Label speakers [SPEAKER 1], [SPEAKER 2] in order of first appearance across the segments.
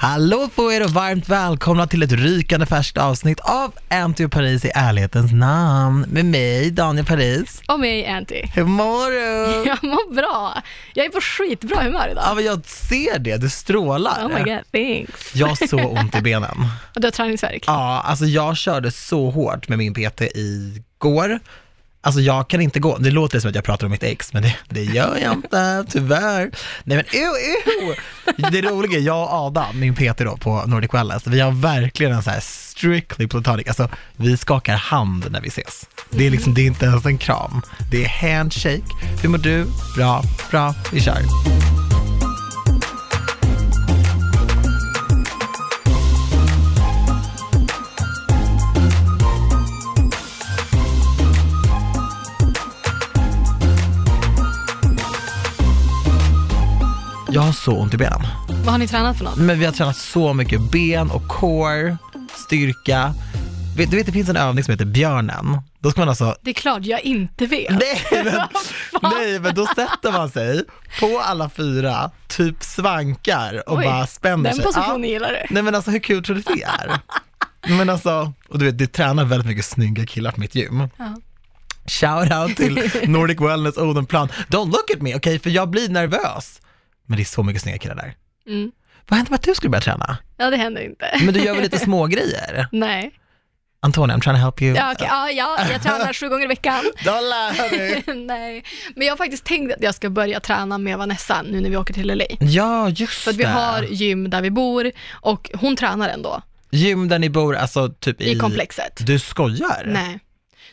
[SPEAKER 1] Hallå på er och varmt välkomna till ett rykande färskt avsnitt av Anty och Paris i ärlighetens namn med mig, Daniel Paris.
[SPEAKER 2] Och mig, Anty.
[SPEAKER 1] Hur mår du?
[SPEAKER 2] Jag mår bra. Jag är på skitbra humör
[SPEAKER 1] Ja,
[SPEAKER 2] idag.
[SPEAKER 1] men jag ser det, du strålar.
[SPEAKER 2] Oh my god, thanks.
[SPEAKER 1] Jag har så ont i benen.
[SPEAKER 2] Och du har träningsvärk?
[SPEAKER 1] Ja, alltså jag körde så hårt med min PT igår. Alltså jag kan inte gå, det låter som att jag pratar om mitt ex, men det, det gör jag inte, tyvärr. Nej men ew, ew. Det roliga, är, jag och Adam, min PT då på Nordic Wellness, vi har verkligen en så här strictly platonic, alltså vi skakar hand när vi ses. Det är liksom, det är inte ens en kram, det är handshake. Hur mår du? Bra, bra, vi kör. Jag har så ont i benen.
[SPEAKER 2] Vad har ni tränat för något?
[SPEAKER 1] Men vi har tränat så mycket ben och core, styrka. Vet- Du vet det finns en övning som heter björnen. Då ska man alltså
[SPEAKER 2] Det är klart jag inte vet.
[SPEAKER 1] Nej men, nej men då sätter man sig på alla fyra, typ svankar och
[SPEAKER 2] Oj,
[SPEAKER 1] bara spänner
[SPEAKER 2] den
[SPEAKER 1] sig.
[SPEAKER 2] positionen
[SPEAKER 1] Ja.
[SPEAKER 2] gillar du.
[SPEAKER 1] Nej men alltså hur kul tror du det är? Men alltså, och du vet det tränar väldigt mycket snygga killar på mitt gym.
[SPEAKER 2] Ja.
[SPEAKER 1] Shout out till Nordic Wellness Odenplan. Don't look at me, okej för jag blir nervös. Men det är så mycket snygga killar där.
[SPEAKER 2] Mm.
[SPEAKER 1] Vad hände med att du skulle börja träna?
[SPEAKER 2] Ja, det händer inte.
[SPEAKER 1] Men du gör väl lite smågrejer?
[SPEAKER 2] Nej.
[SPEAKER 1] Antonija, I'm trying to help you.
[SPEAKER 2] Ja, okej. ja, ja, jag tränar sju gånger i veckan.
[SPEAKER 1] Dollar, hörru.
[SPEAKER 2] Nej, men jag har faktiskt tänkt att jag ska börja träna med Vanessa nu när vi åker till LA.
[SPEAKER 1] Ja, just
[SPEAKER 2] För att vi
[SPEAKER 1] det.
[SPEAKER 2] har gym där vi bor och hon tränar ändå
[SPEAKER 1] Gym där ni bor, alltså typ i...
[SPEAKER 2] i komplexet.
[SPEAKER 1] Du skojar?
[SPEAKER 2] Nej.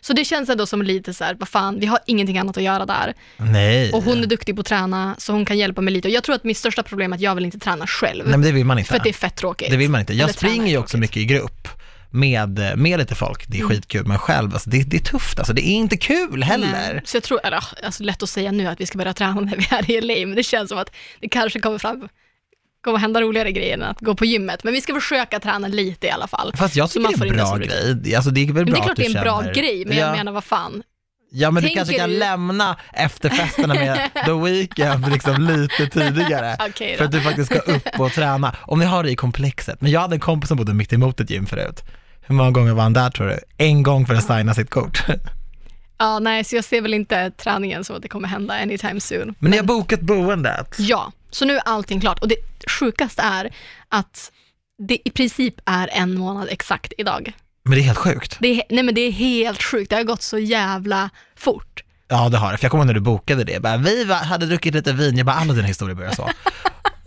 [SPEAKER 2] Så det känns ändå som lite så här, vad fan, vi har ingenting annat att göra där.
[SPEAKER 1] Nej.
[SPEAKER 2] Och hon är duktig på att träna, så hon kan hjälpa mig lite. Och jag tror att mitt största problem är att jag vill inte träna själv.
[SPEAKER 1] Nej men det vill man inte.
[SPEAKER 2] För att det är fett tråkigt.
[SPEAKER 1] Det vill man inte. Jag
[SPEAKER 2] Eller träna
[SPEAKER 1] springer ju
[SPEAKER 2] är
[SPEAKER 1] också
[SPEAKER 2] tråkigt. Mm.
[SPEAKER 1] mycket i grupp med, med lite folk, det är skitkul, men själv, alltså, det, det är tufft alltså, det är inte kul heller.
[SPEAKER 2] Nej. Mm. Så jag tror, eller ah, alltså lätt att säga nu att vi ska börja träna när vi är i LA, men det känns som att det kanske kommer fram, kommer hända roligare grejer än att gå på gymmet. Men vi ska försöka träna lite i alla fall.
[SPEAKER 1] Fast jag
[SPEAKER 2] Så
[SPEAKER 1] tycker
[SPEAKER 2] man
[SPEAKER 1] det är
[SPEAKER 2] får
[SPEAKER 1] en
[SPEAKER 2] inte
[SPEAKER 1] bra
[SPEAKER 2] som rutin.
[SPEAKER 1] grej. Alltså, det är väl
[SPEAKER 2] Men
[SPEAKER 1] bra
[SPEAKER 2] det är klart
[SPEAKER 1] att du
[SPEAKER 2] det är en bra
[SPEAKER 1] känner-
[SPEAKER 2] grej, men
[SPEAKER 1] ja,
[SPEAKER 2] jag menar vad fan.
[SPEAKER 1] Ja men du
[SPEAKER 2] Tänker
[SPEAKER 1] kanske kan
[SPEAKER 2] du-
[SPEAKER 1] lämna efterfesterna med The Weeknd liksom lite tidigare.
[SPEAKER 2] Okej då.
[SPEAKER 1] för att du faktiskt ska upp och träna. Om ni har det i komplexet. Men jag hade en kompis som bodde mitt emot ett gym förut. Hur många gånger var han där tror du? En gång för att signa sitt kort.
[SPEAKER 2] Ja, nej, så jag ser väl inte träningen som att det kommer hända anytime soon.
[SPEAKER 1] Men ni har bokat boendet.
[SPEAKER 2] Ja, så nu är allting klart. Och det sjukaste är att det i princip är en månad exakt idag.
[SPEAKER 1] Men det är helt sjukt.
[SPEAKER 2] Det är, he- nej men det är helt sjukt, det har gått så jävla fort.
[SPEAKER 1] Ja det har det, för jag kommer ihåg när du bokade det. Jag Bara, vi var, hade druckit lite vin, jag bara alla dina historier börjar så.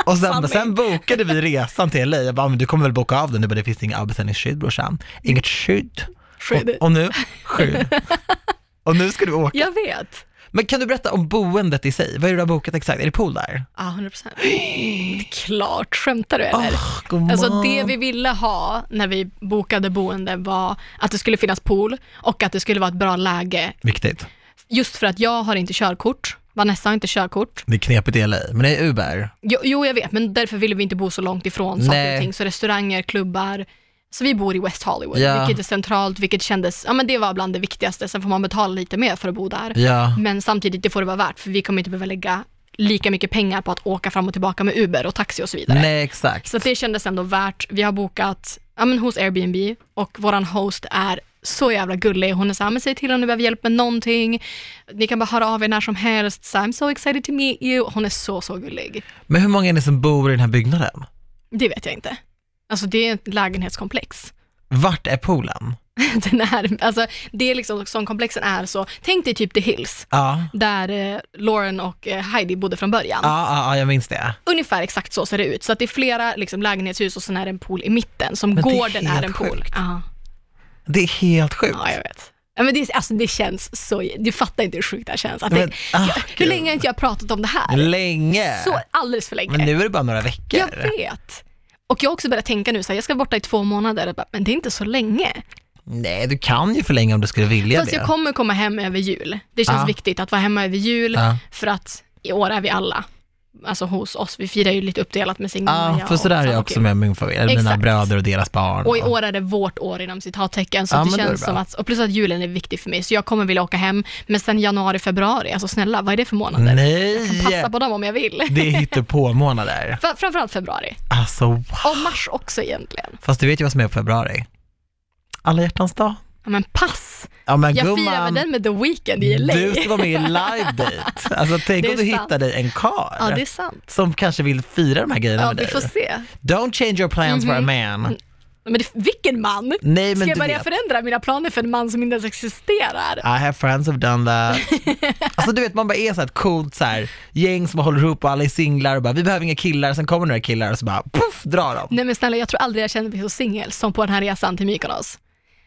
[SPEAKER 1] Och sen,
[SPEAKER 2] Sanning.
[SPEAKER 1] sen bokade vi resan till LA, jag bara, men du kommer väl boka av den? Du bara, det finns inga avbeställningsskydd
[SPEAKER 2] Mm.
[SPEAKER 1] brorsan. Inget skydd.
[SPEAKER 2] Skydd.
[SPEAKER 1] Och, och nu, skydd. Och nu ska du åka.
[SPEAKER 2] Jag vet.
[SPEAKER 1] Men kan du berätta om boendet i sig? Vad är det du har bokat exakt? Är det pool där?
[SPEAKER 2] Ja, 100 procent. Klart, skämtar du eller?
[SPEAKER 1] Åh, god
[SPEAKER 2] Alltså
[SPEAKER 1] Ah, man.
[SPEAKER 2] det vi ville ha när vi bokade boende var att det skulle finnas pool och att det skulle vara ett bra läge.
[SPEAKER 1] Viktigt.
[SPEAKER 2] Just för att jag har inte körkort, Vanessa har inte körkort.
[SPEAKER 1] Det är knepigt i LA, men det är Uber.
[SPEAKER 2] Jo, jo jag vet, men därför ville vi inte bo så långt ifrån saker
[SPEAKER 1] Nej.
[SPEAKER 2] och ting. Så restauranger, klubbar. Så vi bor i West Hollywood,
[SPEAKER 1] Ja.
[SPEAKER 2] vilket är centralt, vilket kändes, ja men det var bland det viktigaste. Sen får man betala lite mer för att bo där.
[SPEAKER 1] Ja.
[SPEAKER 2] Men samtidigt, det får det vara värt, för vi kommer inte behöva lägga lika mycket pengar på att åka fram och tillbaka med Uber och taxi och så vidare.
[SPEAKER 1] Nej, exakt.
[SPEAKER 2] Så att det kändes ändå värt. Vi har bokat ja, men hos Airbnb och våran host är så jävla gullig. Hon är så här, men säg till om ni behöver hjälp med någonting. Ni kan bara höra av er när som helst. Så här, I'm so excited to meet you. Hon är så, så gullig.
[SPEAKER 1] Men hur många är ni som bor i den här byggnaden?
[SPEAKER 2] Det vet jag inte. Alltså det är ett lägenhetskomplex.
[SPEAKER 1] Vart är poolen?
[SPEAKER 2] Den är, alltså, det är liksom som komplexen är så, tänk dig typ The Hills,
[SPEAKER 1] Ja,
[SPEAKER 2] där eh, Lauren och eh, Heidi bodde från början.
[SPEAKER 1] ja, ja, ja jag minns det.
[SPEAKER 2] Ungefär exakt så ser det ut. Så att det är flera liksom, lägenhetshus och sen är det en pool i mitten, som
[SPEAKER 1] Men det är
[SPEAKER 2] gården är,
[SPEAKER 1] helt
[SPEAKER 2] en pool.
[SPEAKER 1] sjukt.
[SPEAKER 2] Ja.
[SPEAKER 1] Det är helt sjukt.
[SPEAKER 2] Ja, jag vet. Ja, men det, alltså, det känns så... Du fattar inte hur sjukt det här känns. Att det,
[SPEAKER 1] Men, ah,
[SPEAKER 2] jag, hur
[SPEAKER 1] gud.
[SPEAKER 2] länge har inte jag pratat om det här?
[SPEAKER 1] Länge.
[SPEAKER 2] Så alldeles för länge.
[SPEAKER 1] Men nu är det bara några veckor.
[SPEAKER 2] jag vet. Och jag har också börjat tänka nu, så här, jag ska vara borta i två månader, Jag bara, men det är inte så länge.
[SPEAKER 1] Nej, du kan ju förlänga om du skulle vilja
[SPEAKER 2] Fast
[SPEAKER 1] det.
[SPEAKER 2] jag kommer komma hem över jul. Det känns
[SPEAKER 1] Ja.
[SPEAKER 2] viktigt att vara hemma över jul,
[SPEAKER 1] Ja.
[SPEAKER 2] för att i år är vi alla alltså hos oss. Vi firar ju lite uppdelat med Signe
[SPEAKER 1] Ja,
[SPEAKER 2] Maria
[SPEAKER 1] för
[SPEAKER 2] och
[SPEAKER 1] sådär är jag
[SPEAKER 2] Sam
[SPEAKER 1] också med min familj, eller mina
[SPEAKER 2] Exakt.
[SPEAKER 1] bröder och deras barn.
[SPEAKER 2] Och i år är det vårt år inom citattecken, så
[SPEAKER 1] Ja,
[SPEAKER 2] att
[SPEAKER 1] men
[SPEAKER 2] det
[SPEAKER 1] då är det
[SPEAKER 2] känns
[SPEAKER 1] bra.
[SPEAKER 2] som att, och plus att julen är viktig för mig, så jag kommer vilja åka hem, men sen januari, februari, alltså snälla, vad är det för månader? Jag kan
[SPEAKER 1] Nej,
[SPEAKER 2] passa på dem om jag vill.
[SPEAKER 1] det är hittepåmånader.
[SPEAKER 2] Fr- Framförallt februari,
[SPEAKER 1] Alltså, wow.
[SPEAKER 2] och mars också egentligen.
[SPEAKER 1] fast du vet ju vad som är på februari. Alla hjärtans dag.
[SPEAKER 2] Ja, men pass!
[SPEAKER 1] Ja men
[SPEAKER 2] Jag firar
[SPEAKER 1] gumman,
[SPEAKER 2] väl den med The Weeknd i LA.
[SPEAKER 1] du ska vara med i live date. Alltså tänk
[SPEAKER 2] Det är
[SPEAKER 1] om du
[SPEAKER 2] sant.
[SPEAKER 1] hittar dig en karl
[SPEAKER 2] Ja, det är sant.
[SPEAKER 1] som kanske vill fira de här grejerna
[SPEAKER 2] Ja,
[SPEAKER 1] med
[SPEAKER 2] vi
[SPEAKER 1] dig.
[SPEAKER 2] får se.
[SPEAKER 1] Don't change your plans for a man.
[SPEAKER 2] Men det, vilken man!
[SPEAKER 1] Nej
[SPEAKER 2] Ska
[SPEAKER 1] men
[SPEAKER 2] jag
[SPEAKER 1] du
[SPEAKER 2] börja
[SPEAKER 1] vet,
[SPEAKER 2] förändra mina planer för en man som inte ens existerar?
[SPEAKER 1] I have friends who've done that. alltså du vet man bara är så här ett coolt så här, gäng som håller ihop och alla är singlar och bara vi behöver inga killar, sen kommer några killar och så bara puff, drar de.
[SPEAKER 2] Nej men snälla, jag tror aldrig jag kände mig så singel som på den här resan till Mykonos.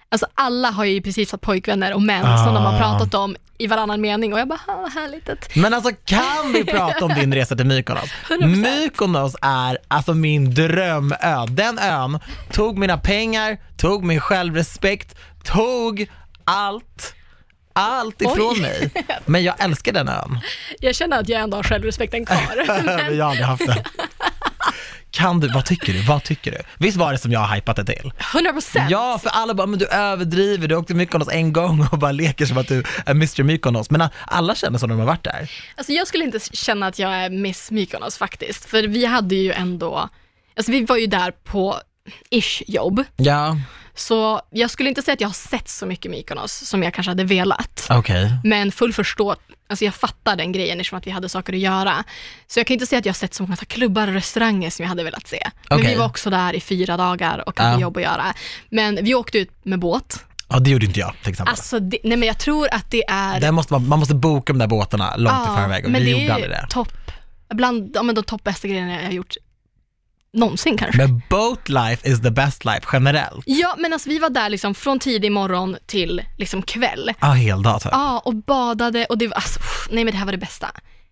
[SPEAKER 2] Alltså alla har ju precis haft pojkvänner och män som de
[SPEAKER 1] Ah.
[SPEAKER 2] har pratat om i varannan mening och jag bara, "Ah, vad härligt att...
[SPEAKER 1] Men alltså kan vi prata om din resa till Mykonos?
[SPEAKER 2] 100%.
[SPEAKER 1] Mykonos är alltså min drömö. Den ön tog mina pengar, tog min självrespekt, tog allt. Allt ifrån
[SPEAKER 2] Oj.
[SPEAKER 1] mig. Men jag älskar den ön.
[SPEAKER 2] Jag känner att jag ändå har självrespekten kvar.
[SPEAKER 1] Men jag har aldrig haft den. Kan du, vad tycker du, vad tycker du? Visst var det som jag har hypat det till?
[SPEAKER 2] 100 procent!
[SPEAKER 1] Ja, för alla bara, men du överdriver, du åkte till Mykonos en gång och bara leker som att du är Mr Mykonos. Men alla känner så när de har varit där.
[SPEAKER 2] Alltså jag skulle inte känna att jag är Miss Mykonos faktiskt, för vi hade ju ändå, alltså vi var ju där på ish jobb,
[SPEAKER 1] Ja,
[SPEAKER 2] så jag skulle inte säga att jag har sett så mycket Mykonos som jag kanske hade velat.
[SPEAKER 1] okej.
[SPEAKER 2] Men full förstå, alltså jag fattar den grejen eftersom att vi hade saker att göra. Så jag kan inte säga att jag har sett så många så här klubbar och restauranger som jag hade velat se. Men
[SPEAKER 1] Okej.
[SPEAKER 2] vi var också där i fyra dagar och hade
[SPEAKER 1] Ja.
[SPEAKER 2] jobb att göra. Men vi åkte ut med båt.
[SPEAKER 1] Ja, det gjorde inte jag till exempel.
[SPEAKER 2] Alltså, det, nej men jag tror att det är...
[SPEAKER 1] Där måste man, man måste boka de där båtarna långt
[SPEAKER 2] Ja,
[SPEAKER 1] i förväg och
[SPEAKER 2] men
[SPEAKER 1] vi
[SPEAKER 2] det
[SPEAKER 1] gjorde
[SPEAKER 2] är
[SPEAKER 1] aldrig
[SPEAKER 2] ju
[SPEAKER 1] det.
[SPEAKER 2] topp, bland ja, men de topp bästa grejerna jag har gjort någonsin kanske.
[SPEAKER 1] Men boat life is the best life generellt.
[SPEAKER 2] Ja, men alltså vi var där liksom från tidig morgon till liksom kväll.
[SPEAKER 1] Ja, ah, hel dag typ.
[SPEAKER 2] Ja, och badade och det var, alltså, pff, nej men det här var det bästa.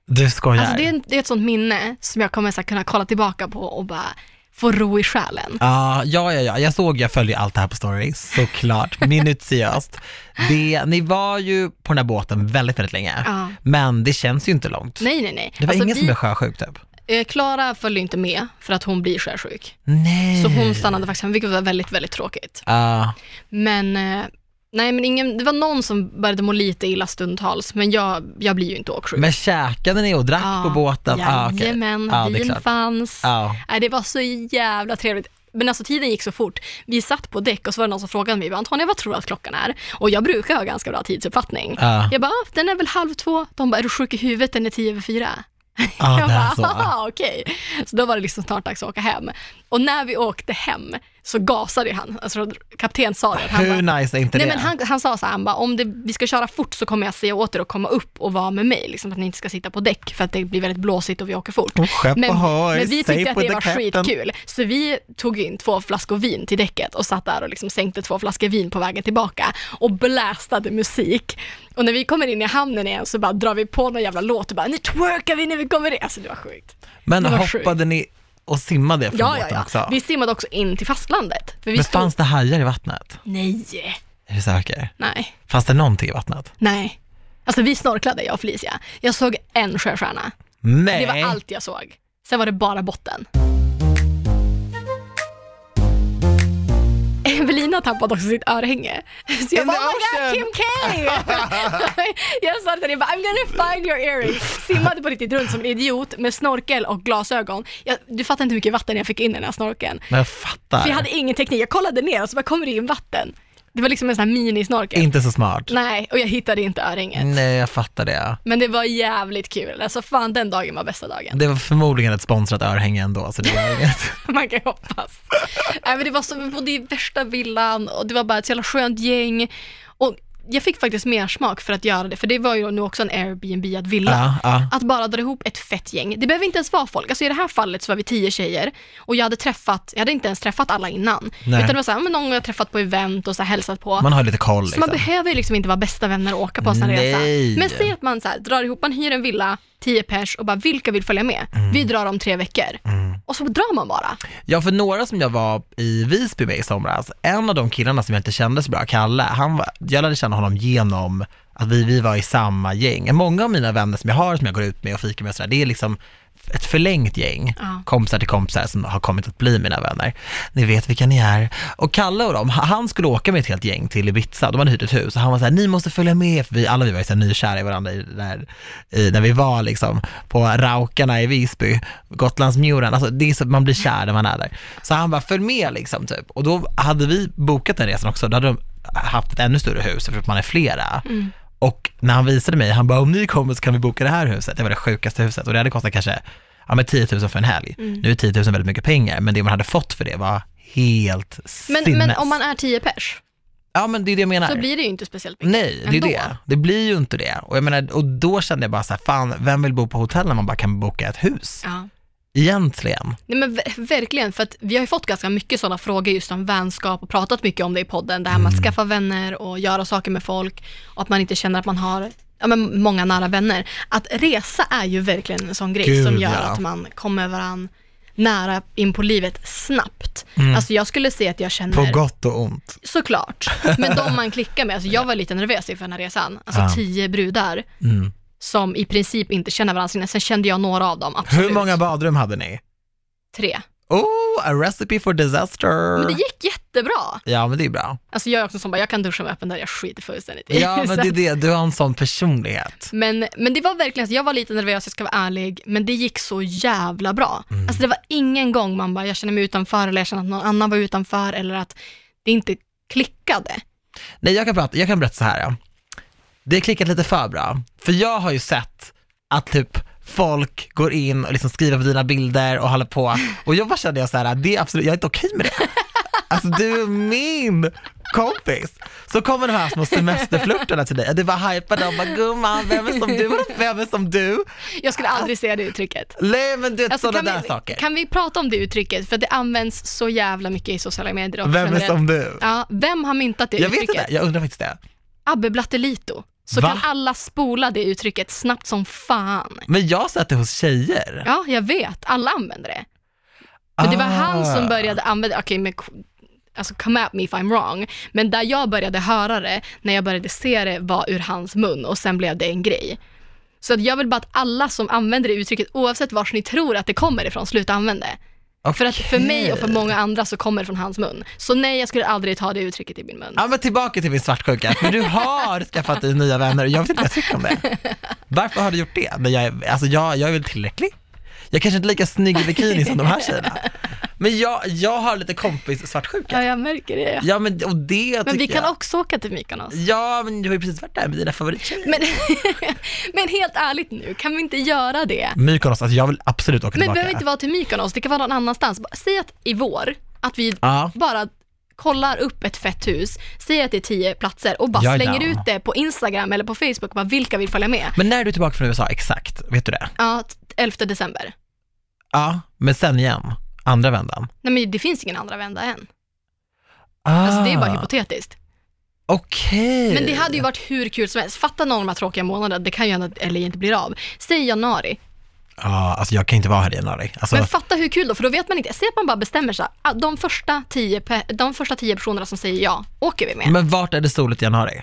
[SPEAKER 1] Du skojar.
[SPEAKER 2] Alltså det, är en, det är ett sånt minne som jag kommer så här, kunna kolla tillbaka på och bara få ro i själen.
[SPEAKER 1] Ja, ja, ja, ja, jag såg, jag följer allt det här på stories, såklart, minutiöst. Det, ni var ju på den här båten väldigt, väldigt länge,
[SPEAKER 2] Ja.
[SPEAKER 1] men det känns ju inte långt.
[SPEAKER 2] Nej, nej, nej.
[SPEAKER 1] Det var
[SPEAKER 2] Alltså,
[SPEAKER 1] ingen
[SPEAKER 2] vi-
[SPEAKER 1] som blev sjösjuk typ?
[SPEAKER 2] eh, Klara följde inte med för att hon blir sjösjuk.
[SPEAKER 1] Nej.
[SPEAKER 2] Så hon stannade faktiskt hemma, vilket var väldigt, väldigt tråkigt.
[SPEAKER 1] Ja,
[SPEAKER 2] Men, eh, nej men ingen, det var någon som började må lite illa stundtals, men jag, jag blir ju inte åksjuk.
[SPEAKER 1] men käkade ni och drack
[SPEAKER 2] Ja,
[SPEAKER 1] på båten? Ah, okej.
[SPEAKER 2] Jajamän,
[SPEAKER 1] Ja, det är
[SPEAKER 2] vin
[SPEAKER 1] klart. Ah.
[SPEAKER 2] fanns.
[SPEAKER 1] Ja.
[SPEAKER 2] Nej, det var så jävla trevligt. Men alltså tiden gick så fort. Vi satt på däck och så var det någon som frågade mig, Antonija vad tror du att klockan är? Och jag brukar ha ganska bra tidsuppfattning.
[SPEAKER 1] Ja.
[SPEAKER 2] Jag bara, "Ah, den är väl halv två? De bara, är du sjuk i huvudet? Den är tio över fyra.
[SPEAKER 1] Ja,
[SPEAKER 2] jag
[SPEAKER 1] det är
[SPEAKER 2] bara,
[SPEAKER 1] så.
[SPEAKER 2] "Haha, okej. Så då var det liksom snart dags att åka hem. Och när vi åkte hem så gasade ju han, alltså kapten sa det. att Han bara,
[SPEAKER 1] Hur nice är inte
[SPEAKER 2] Nej,
[SPEAKER 1] det?
[SPEAKER 2] men han, han sa så här, han bara, om det, vi ska köra fort så kommer jag säga åt er att komma upp och vara med mig, liksom, att ni inte ska sitta på däck för att det blir väldigt blåsigt och vi åker fort.
[SPEAKER 1] Oh, skepp
[SPEAKER 2] Men,
[SPEAKER 1] ahoy,
[SPEAKER 2] men vi
[SPEAKER 1] safe
[SPEAKER 2] tyckte att det
[SPEAKER 1] with
[SPEAKER 2] var
[SPEAKER 1] the captain.
[SPEAKER 2] skitkul, så vi tog in två flaskor vin till däcket och satt där och liksom sänkte två flaskor vin på vägen tillbaka och blästade musik. Och när vi kommer in i hamnen igen så bara drar vi på någon jävla låt och bara nu twerkar vi när vi kommer in. Alltså det var sjukt.
[SPEAKER 1] Men
[SPEAKER 2] Det var
[SPEAKER 1] hoppade ni och simmade från
[SPEAKER 2] Ja, ja,
[SPEAKER 1] båten
[SPEAKER 2] ja.
[SPEAKER 1] också?
[SPEAKER 2] Vi simmade också in till fastlandet. För vi
[SPEAKER 1] Men
[SPEAKER 2] stod...
[SPEAKER 1] fanns det hajar i vattnet?
[SPEAKER 2] Nej,
[SPEAKER 1] Är du säker?
[SPEAKER 2] nej,
[SPEAKER 1] Fanns det någonting i vattnet?
[SPEAKER 2] nej. Alltså vi snorklade jag och Felicia. Jag såg en sjöstjärna.
[SPEAKER 1] Nej.
[SPEAKER 2] Det var allt jag såg. Sen var det bara botten. Evelina tappade också sitt örhänge. Så jag
[SPEAKER 1] In
[SPEAKER 2] bara,
[SPEAKER 1] the
[SPEAKER 2] oh my god,
[SPEAKER 1] ocean."
[SPEAKER 2] Kim K! jag sa till henne, jag bara, I'm gonna find your earring. Simmade på riktigt runt som en idiot med snorkel och glasögon. Jag, du fattar inte hur mycket vatten jag fick in i den här snorkeln.
[SPEAKER 1] Men jag fattar.
[SPEAKER 2] För jag hade ingen teknik. Jag kollade ner och så bara, kommer det in vatten? Det var liksom en sån här minisnorkel.
[SPEAKER 1] Inte så smart.
[SPEAKER 2] Nej, och jag hittade inte örhänget.
[SPEAKER 1] Nej, jag fattar det.
[SPEAKER 2] Men det var jävligt kul. Alltså fan, den dagen var bästa dagen.
[SPEAKER 1] Det var förmodligen ett sponsrat örhänge ändå, så det var inget.
[SPEAKER 2] Man kan ju hoppas. Nej, men det var så, vi bodde i värsta villan och det var bara ett så jävla skönt gäng. Och jag fick faktiskt mer smak för att göra det, för det var ju nu också en Airbnb, att villa.
[SPEAKER 1] Ja, ja.
[SPEAKER 2] Att bara dra ihop ett fett gäng. Det behöver inte ens vara folk. Alltså i det här fallet så var vi tio tjejer och jag hade träffat, jag hade inte ens träffat alla innan.
[SPEAKER 1] Nej.
[SPEAKER 2] Utan det var så här, men någon jag har träffat på event och så här, hälsat på.
[SPEAKER 1] Man har lite koll
[SPEAKER 2] Så man
[SPEAKER 1] liksom.
[SPEAKER 2] behöver ju liksom inte vara bästa vänner och åka på en sån här
[SPEAKER 1] Nej.
[SPEAKER 2] resa. Men säg att man så här, drar ihop, man hyr en villa, 10 pers och bara vilka vill följa med?
[SPEAKER 1] Mm.
[SPEAKER 2] Vi drar om tre veckor. Och så drar man bara.
[SPEAKER 1] Ja, för några som jag var i Visby med i somras, en av de killarna som jag inte kände så bra, Kalle, han var, jag lärde känna honom genom att vi, vi var i samma gäng. Många av mina vänner som jag har, som jag går ut med och fikar med och sådär, det är liksom ett förlängt gäng
[SPEAKER 2] Ja.
[SPEAKER 1] kompisar till kompisar som har kommit att bli mina vänner. Ni vet vilka ni är. Och Kalle och dem, ha- han skulle åka med ett helt gäng till Ibiza, de hade hyrt ett hus och han var så här, ni måste följa med, för vi, alla vi var ju så här nykära i varandra i, där, i, när vi var liksom på Raukarna i Visby, Gotlandsmjuren, alltså det är så, man blir kär när man är där. Så han bara, följ med liksom typ. Och då hade vi bokat den resan också, då hade de haft ett ännu större hus, för att man är flera.
[SPEAKER 2] Mm.
[SPEAKER 1] Och när han visade mig, han bara om ni kommer så kan vi boka det här huset. Det var det sjukaste huset och det hade kostat kanske ja, men 10 000 för en helg.
[SPEAKER 2] Mm.
[SPEAKER 1] Nu är 10 000 väldigt mycket pengar, men det man hade fått för det var helt
[SPEAKER 2] Men,
[SPEAKER 1] sinnes.
[SPEAKER 2] men om man är tio pers
[SPEAKER 1] Ja men det är det jag menar.
[SPEAKER 2] så blir det ju inte speciellt mycket.
[SPEAKER 1] Nej, det är ju
[SPEAKER 2] ändå.
[SPEAKER 1] det. Det blir ju inte det. Och, jag menar, och då kände jag bara så här, fan vem vill bo på hotell när man bara kan boka ett hus?
[SPEAKER 2] Ja.
[SPEAKER 1] Egentligen.
[SPEAKER 2] Nej men ver- verkligen, för att vi har ju fått ganska mycket sådana frågor just om vänskap och pratat mycket om det i podden. Det här med
[SPEAKER 1] Mm.
[SPEAKER 2] att skaffa vänner och göra saker med folk och att man inte känner att man har ja, men många nära vänner. Att resa är ju verkligen en sån grej
[SPEAKER 1] Gud,
[SPEAKER 2] som gör
[SPEAKER 1] ja.
[SPEAKER 2] att man kommer varann nära in på livet snabbt. Alltså jag skulle säga att jag känner...
[SPEAKER 1] Mm. På gott och ont.
[SPEAKER 2] Såklart, men de man klickar med. Alltså jag var lite nervös inför den här resan. Alltså
[SPEAKER 1] Ja.
[SPEAKER 2] tio brudar
[SPEAKER 1] Mm.
[SPEAKER 2] som i princip inte känner varandra. Sen kände jag några av dem, absolut.
[SPEAKER 1] Hur många badrum hade ni?
[SPEAKER 2] Tre.
[SPEAKER 1] Oh, a recipe for disaster.
[SPEAKER 2] Men det gick jättebra.
[SPEAKER 1] Ja men det är bra.
[SPEAKER 2] Alltså jag är också som bara, jag kan duscha med öppen dörr, jag skiter fullständigt i.
[SPEAKER 1] Ja men
[SPEAKER 2] Så
[SPEAKER 1] det är
[SPEAKER 2] att-
[SPEAKER 1] det, du har en sån personlighet.
[SPEAKER 2] men, men det var verkligen, så jag var lite nervös, jag ska vara ärlig, men det gick så jävla bra.
[SPEAKER 1] Mm.
[SPEAKER 2] Alltså det var ingen gång man bara, jag känner mig utanför eller jag känner att någon annan var utanför eller att det inte klickade.
[SPEAKER 1] Nej, jag kan, prata, jag kan berätta så här. ja. Det har klickat lite för bra. För jag har ju sett att typ folk går in och liksom skriver på dina bilder och håller på. Och jag bara kände jag så här, det är absolut, jag är inte okej med det. Alltså du är min kompis. Så kommer de här små semesterflörtarna till dig. Du bara hypade och bara gumman, vem är som du? Vem är som du?
[SPEAKER 2] Jag skulle aldrig säga det uttrycket.
[SPEAKER 1] Nej men du vet
[SPEAKER 2] Alltså,
[SPEAKER 1] sådana
[SPEAKER 2] kan,
[SPEAKER 1] där
[SPEAKER 2] vi,
[SPEAKER 1] saker.
[SPEAKER 2] kan vi prata om det uttrycket? För det används så jävla mycket i sociala medier. och
[SPEAKER 1] Vem är
[SPEAKER 2] generellt.
[SPEAKER 1] som du?
[SPEAKER 2] Ja, vem har myntat det
[SPEAKER 1] Jag vet
[SPEAKER 2] uttrycket?
[SPEAKER 1] inte, jag undrar faktiskt det.
[SPEAKER 2] Abbe Blattelito. Så
[SPEAKER 1] Va?
[SPEAKER 2] kan alla spola det uttrycket snabbt som fan.
[SPEAKER 1] Men jag har sett det hos tjejer.
[SPEAKER 2] Ja, jag vet. Alla använder det. Men det var han som
[SPEAKER 1] Ah.
[SPEAKER 2] började använda, okej men alltså come at me if I'm wrong, men där jag började höra det, när jag började se det var ur hans mun och sen blev det en grej. Så att jag vill bara att alla som använder det uttrycket, oavsett vars ni tror att det kommer ifrån, sluta använda det. För att för mig och för
[SPEAKER 1] Okej.
[SPEAKER 2] många andra så kommer det från hans mun. Så nej, jag skulle aldrig ta det uttrycket i min mun.
[SPEAKER 1] Ja men tillbaka till min svartsjuka, för du har skaffat dig nya vänner och jag vet inte vad jag tycker om det. Varför har du gjort det? Men jag, är- alltså jag, jag är väl tillräcklig. Jag kanske inte är lika snygg i bikini som de här tjejerna. Men jag, jag har lite kompis svartsjuka.
[SPEAKER 2] Ja, jag märker det.
[SPEAKER 1] Ja men och det tycker
[SPEAKER 2] Men vi kan
[SPEAKER 1] jag.
[SPEAKER 2] också åka till Mykonos.
[SPEAKER 1] Ja men du har ju precis varit där med dina favorittjejer.
[SPEAKER 2] Men, men helt ärligt nu, kan vi inte göra det?
[SPEAKER 1] Mykonos, alltså jag vill absolut åka
[SPEAKER 2] Men det
[SPEAKER 1] tillbaka.
[SPEAKER 2] behöver inte vara till Mykonos, det kan vara någon annanstans. Bara- Säg att i vår, att vi
[SPEAKER 1] Ja.
[SPEAKER 2] bara kollar upp ett fett hus, säger att det är tio platser och bara
[SPEAKER 1] Jag är
[SPEAKER 2] slänger
[SPEAKER 1] down.
[SPEAKER 2] ut det på Instagram eller på Facebook, bara vilka vill följa med?
[SPEAKER 1] Men när är du tillbaka från USA exakt? Vet du det?
[SPEAKER 2] Ja, t- 11 december.
[SPEAKER 1] Ja, men sen igen, andra vändan.
[SPEAKER 2] Nej men det finns ingen andra vända än.
[SPEAKER 1] Ah,
[SPEAKER 2] Alltså det är bara hypotetiskt.
[SPEAKER 1] Okej.
[SPEAKER 2] Men det hade ju varit hur kul som helst. Fatta någon av de här tråkiga månaderna, det kan ju hända att LA inte blir av. Säg januari.
[SPEAKER 1] Ja, alltså jag kan inte vara här i januari. Alltså,
[SPEAKER 2] Men fatta hur kul då, för då vet man inte. Säg att man bara bestämmer sig, ah, de första tio, pe- de första tio personerna som säger ja, åker vi med.
[SPEAKER 1] men vart är det soligt i januari?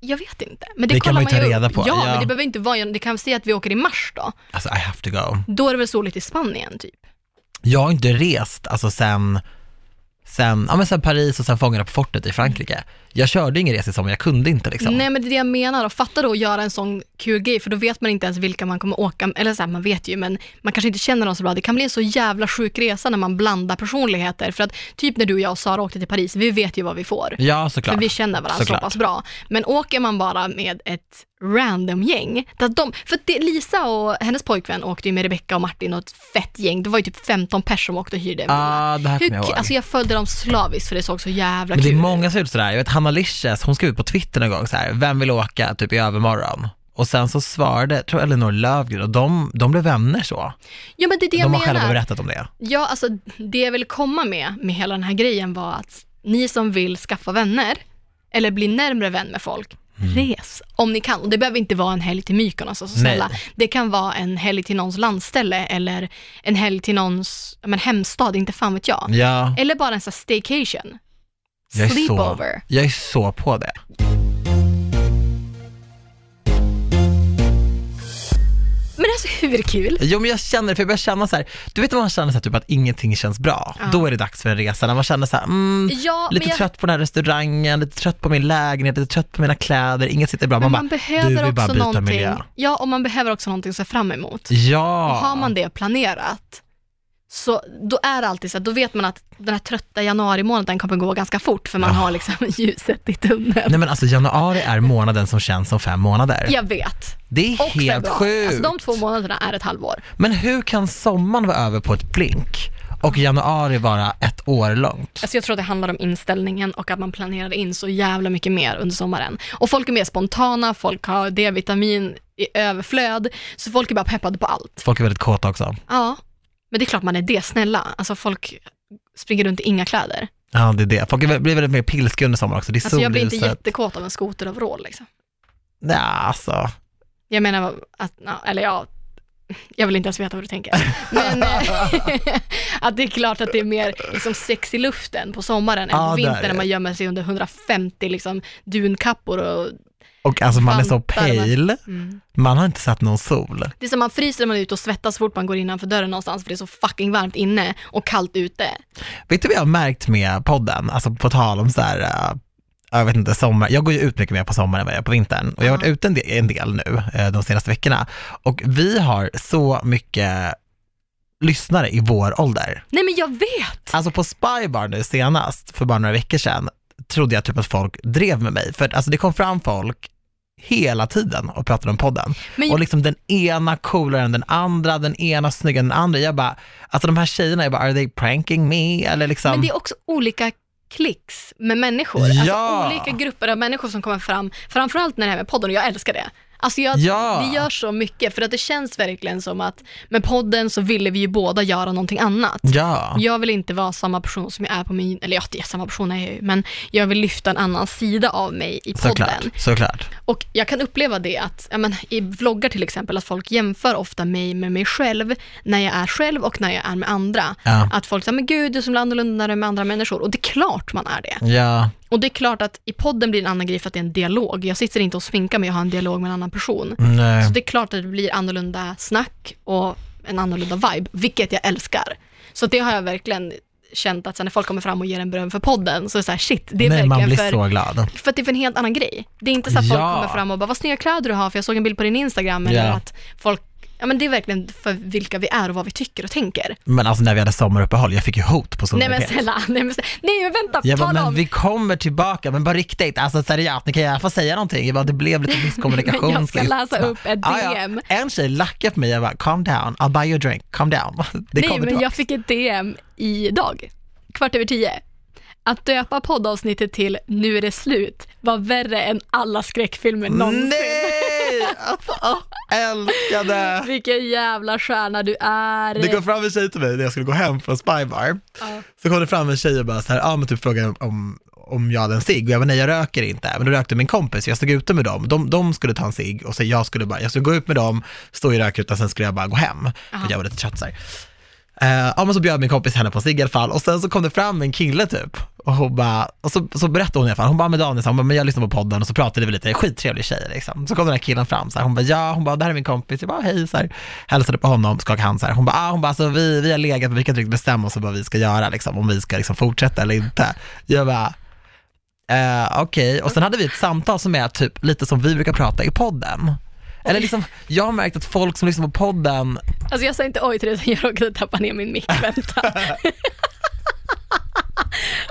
[SPEAKER 2] Jag vet inte. Men det,
[SPEAKER 1] Det kan man
[SPEAKER 2] kollar
[SPEAKER 1] ju ta
[SPEAKER 2] ju upp.
[SPEAKER 1] reda på,
[SPEAKER 2] Ja,
[SPEAKER 1] ja.
[SPEAKER 2] men det behöver inte vara, det kan säga att vi åker i mars då.
[SPEAKER 1] Alltså I have to go.
[SPEAKER 2] Då är det väl soligt i Spanien typ.
[SPEAKER 1] Jag har inte rest alltså sen, sen, ja, men sen Paris och sen Fångarna på fortet i Frankrike. Jag körde ingen resa i sommar, jag kunde inte liksom.
[SPEAKER 2] Nej men det är det jag menar och fatta då att göra en sån kul grej för då vet man inte ens vilka man kommer åka med, eller så här, man vet ju men man kanske inte känner dem så bra. Det kan bli en så jävla sjuk resa när man blandar personligheter för att typ när du och jag och Sara åkte till Paris, vi vet ju vad vi får.
[SPEAKER 1] Ja
[SPEAKER 2] För
[SPEAKER 1] såklart.
[SPEAKER 2] vi känner varandra
[SPEAKER 1] Såklart.
[SPEAKER 2] så pass bra. Men åker man bara med ett random gäng, där de, för att det, Lisa och hennes pojkvän åkte ju med Rebecca och Martin och ett fett gäng, det var ju typ 15 personer som åkte och hyrde en villa.
[SPEAKER 1] Ja, det Ah, här
[SPEAKER 2] Hur,
[SPEAKER 1] kommer jag ihåg.
[SPEAKER 2] alltså jag följde dem slaviskt för det såg så jävla
[SPEAKER 1] men det är
[SPEAKER 2] kul
[SPEAKER 1] många som har gjort sådär, jag vet Hanna Lisches, hon skrev ut på Twitter någon gång så här, vem vill åka typ i övermorgon? Och sen så svarade, tror jag Elinor Löfgren, och de, de blev vänner så.
[SPEAKER 2] Ja men det är
[SPEAKER 1] de
[SPEAKER 2] det jag
[SPEAKER 1] har själva
[SPEAKER 2] menar.
[SPEAKER 1] berättat om det.
[SPEAKER 2] Ja alltså det jag vill komma med, med hela den här grejen var att ni som vill skaffa vänner, eller bli närmre vän med folk, res om ni kan. Och det behöver inte vara en helg till Mykonos, alltså,
[SPEAKER 1] Mm. Nej.
[SPEAKER 2] snälla. Det kan vara en helg till någons landställe eller en helg till någons ja, men, hemstad, inte fan vet jag.
[SPEAKER 1] Ja,
[SPEAKER 2] Eller bara en sån här staycation.
[SPEAKER 1] jag är, så,
[SPEAKER 2] Sleepover.
[SPEAKER 1] jag är så på det.
[SPEAKER 2] Men alltså hur kul?
[SPEAKER 1] Jo men jag känner det, för jag börjar känna så här, du vet när man känner så här, typ att ingenting känns bra,
[SPEAKER 2] Ja.
[SPEAKER 1] då är det dags för en resa, när man känner så här, mm,
[SPEAKER 2] Ja,
[SPEAKER 1] lite
[SPEAKER 2] men jag,
[SPEAKER 1] trött på den här restaurangen, lite trött på min lägenhet, lite trött på mina kläder, inget sitter bra,
[SPEAKER 2] men
[SPEAKER 1] man,
[SPEAKER 2] man
[SPEAKER 1] bara,
[SPEAKER 2] behöver
[SPEAKER 1] du vill bara
[SPEAKER 2] också
[SPEAKER 1] byta
[SPEAKER 2] någonting.
[SPEAKER 1] miljö.
[SPEAKER 2] Ja, och man behöver också någonting att se fram emot.
[SPEAKER 1] Ja,
[SPEAKER 2] Och har man det planerat, så då är det alltid så att då vet man att den här trötta januari månaden kommer gå ganska fort, för man
[SPEAKER 1] Ja.
[SPEAKER 2] har liksom ljuset i tunneln.
[SPEAKER 1] nej men alltså januari är månaden som känns som fem månader.
[SPEAKER 2] Jag vet.
[SPEAKER 1] Det är
[SPEAKER 2] Och
[SPEAKER 1] helt
[SPEAKER 2] februari.
[SPEAKER 1] sjukt.
[SPEAKER 2] Alltså de två månaderna är ett halvår.
[SPEAKER 1] Men hur kan sommaren vara över på ett blink och januari vara ett år långt?
[SPEAKER 2] Alltså jag tror att det handlar om inställningen och att man planerar in så jävla mycket mer under sommaren. Och folk är mer spontana, folk har D-vitamin i överflöd, så folk är bara peppade på allt.
[SPEAKER 1] Folk är väldigt kåta också.
[SPEAKER 2] Ja, men det är klart man är det, snälla. Alltså folk springer runt i inga kläder.
[SPEAKER 1] Ja, det är det. Folk är väl- blir väldigt mer pilskiga under sommaren också. Det är
[SPEAKER 2] Alltså jag blir inte
[SPEAKER 1] solhuset.
[SPEAKER 2] jättekåt av en skoteroverall liksom.
[SPEAKER 1] Nej, alltså.
[SPEAKER 2] Jag menar att, ja, eller ja, jag vill inte ens veta vad du tänker. Men eh, att det är klart att det är mer liksom sex i luften på sommaren än
[SPEAKER 1] Ja, där
[SPEAKER 2] på vintern
[SPEAKER 1] är
[SPEAKER 2] när
[SPEAKER 1] det.
[SPEAKER 2] man gömmer sig under 150 liksom, dunkappor och
[SPEAKER 1] Och alltså man är så
[SPEAKER 2] Vantar med-
[SPEAKER 1] pale,
[SPEAKER 2] mm.
[SPEAKER 1] man har inte sett någon sol.
[SPEAKER 2] Det är som man fryser när man är ute och svettas så fort man går innanför dörren någonstans för det är så fucking varmt inne och kallt ute.
[SPEAKER 1] Vet du vad jag har märkt med podden, alltså på tal om så här, eh, jag vet inte, sommar, jag går ju ut mycket mer på sommaren än vad jag gör på vintern och jag har varit ute en del, en del nu eh, de senaste veckorna och vi har så mycket lyssnare i vår ålder.
[SPEAKER 2] Nej men jag vet!
[SPEAKER 1] Alltså på Spybar nu senast, för bara några veckor sedan, trodde jag typ att folk drev med mig, för att, alltså det kom fram folk hela tiden och pratade om podden.
[SPEAKER 2] Men
[SPEAKER 1] Och liksom den ena coolare än den andra, den ena snyggare än den andra. Jag bara, alltså de här tjejerna, jag bara, are they pranking me? Eller liksom,
[SPEAKER 2] Men det är också olika klicks med människor.
[SPEAKER 1] Ja.
[SPEAKER 2] Alltså olika grupper av människor som kommer fram, framförallt när det här med podden, och jag älskar det. Alltså jag,
[SPEAKER 1] Ja.
[SPEAKER 2] det gör så mycket, för att det känns verkligen som att med podden så ville vi ju båda göra någonting annat.
[SPEAKER 1] Ja,
[SPEAKER 2] Jag vill inte vara samma person som jag är på min, eller ja, det är samma person är jag ju, men jag vill lyfta en annan sida av mig i podden.
[SPEAKER 1] såklart. såklart.
[SPEAKER 2] Och jag kan uppleva det att, ja, men, i vloggar till exempel, att folk jämför ofta mig med mig själv, när jag är själv och när jag är med andra.
[SPEAKER 1] Ja.
[SPEAKER 2] Att folk säger, men gud, du är så annorlunda när du är med andra människor. Och det är klart man är det.
[SPEAKER 1] Ja,
[SPEAKER 2] Och det är klart att i podden blir det en annan grej för att det är en dialog. Jag sitter inte och sminkar mig, jag har en dialog med en annan person. Så
[SPEAKER 1] nej.
[SPEAKER 2] det är klart att det blir annorlunda snack och en annorlunda vibe, vilket jag älskar. Så det har jag verkligen känt att sen när folk kommer fram och ger en beröm för podden, så är det så här, shit, det är
[SPEAKER 1] nej, man
[SPEAKER 2] verkligen
[SPEAKER 1] blir
[SPEAKER 2] för
[SPEAKER 1] så glad.
[SPEAKER 2] för att det är för en helt annan grej. Det är inte så att folk
[SPEAKER 1] Ja.
[SPEAKER 2] kommer fram och bara, vad snygga kläder du har, för jag såg en bild på din Instagram.
[SPEAKER 1] Ja.
[SPEAKER 2] Eller att folk, ja men det är verkligen för vilka vi är och vad vi tycker och tänker.
[SPEAKER 1] Men alltså när vi hade sommaruppehåll, jag fick ju hot på
[SPEAKER 2] Nej men
[SPEAKER 1] solidaritet.
[SPEAKER 2] snälla, nej men, snälla. nej men vänta,
[SPEAKER 1] Jag bara,
[SPEAKER 2] tala
[SPEAKER 1] men
[SPEAKER 2] om.
[SPEAKER 1] vi kommer tillbaka, men bara riktigt, alltså seriöst, ni kan i alla fall säga någonting. Jag bara, det blev lite misskommunikation.
[SPEAKER 2] Men jag ska
[SPEAKER 1] sist.
[SPEAKER 2] läsa
[SPEAKER 1] Bara,
[SPEAKER 2] upp ett
[SPEAKER 1] "Ah, ja."
[SPEAKER 2] DM.
[SPEAKER 1] En tjej lackade på mig, jag bara, calm down, I'll buy you a drink, calm down. Det
[SPEAKER 2] nej
[SPEAKER 1] kommer
[SPEAKER 2] men
[SPEAKER 1] tillbaka.
[SPEAKER 2] jag fick ett DM idag, kvart över tio. Att döpa poddavsnittet till Nu är det slut var värre än alla skräckfilmer någonsin.
[SPEAKER 1] Nej! Alltså, åh, älskade!
[SPEAKER 2] Vilken jävla stjärna du är.
[SPEAKER 1] Det kom fram en tjej till mig när jag skulle gå hem från Spybar.
[SPEAKER 2] Ja.
[SPEAKER 1] Så kom det fram en tjej och bara så här, ja men typ frågade om, om jag hade en cigg och jag bara nej jag röker inte. Men då rökte min kompis, jag stod ute med dem. De, de skulle ta en cigg och så jag skulle bara, jag skulle gå ut med dem, stå i rökrutan, sen skulle jag bara gå hem. För
[SPEAKER 2] Aha.
[SPEAKER 1] jag var lite trött så här. Eh, ja men så bjöd min kompis henne på en cigg i alla fall och sen så kom det fram en kille typ och hon bara, och så, så berättade hon i alla fall, hon bara med Daniel, så hon bara, men jag lyssnade på podden och så pratade vi lite, skittrevlig tjej liksom. Så kom den här killen fram så här, hon bara ja, hon bara det här är min kompis, jag bara hej så här, hälsade på honom, skakade hand så här, hon bara ah, hon bara alltså vi, vi har legat men vi kan inte riktigt bestämma oss om vad vi ska göra liksom, om vi ska liksom fortsätta eller inte. Jag bara Eh, Okej, och sen hade vi ett samtal som är typ lite som vi brukar prata i podden. Eller liksom, jag har märkt att folk som lyssnar på podden
[SPEAKER 2] Alltså jag sa inte oj till det, utan jag råkade tappa ner min mick. Vänta.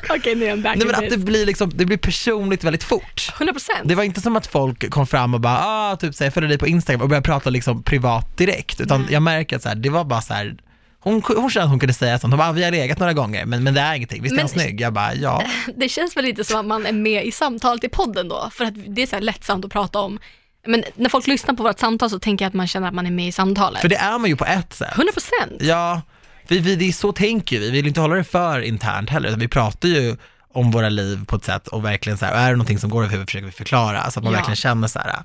[SPEAKER 2] Okej, nu är jag back
[SPEAKER 1] Nej men
[SPEAKER 2] in
[SPEAKER 1] att det
[SPEAKER 2] business.
[SPEAKER 1] blir liksom, det blir personligt väldigt fort.
[SPEAKER 2] 100 procent.
[SPEAKER 1] Det var inte som att folk kom fram och bara, ah, typ säger följer dig på Instagram och började prata liksom privat direkt, utan jag märker att så här, det var bara så här, hon, hon kände att hon kunde säga sånt, hon bara, ah, vi har legat några gånger, men, men det är ingenting, visst är
[SPEAKER 2] Men-
[SPEAKER 1] han snygg? Jag bara, ja.
[SPEAKER 2] Det känns väl lite som att man är med i samtalet i podden då, för att det är så här lättsamt att prata om. Men när folk lyssnar på vårt samtal så tänker jag att man känner att man är med i samtalet.
[SPEAKER 1] För det är man ju på ett sätt.
[SPEAKER 2] 100 procent.
[SPEAKER 1] Ja, vi, vi, det är så tänker vi, vi vill inte hålla det för internt heller, utan vi pratar ju om våra liv på ett sätt och verkligen så här, är det någonting som går över huvudet försöker vi förklara, så att man
[SPEAKER 2] Ja.
[SPEAKER 1] verkligen känner så här,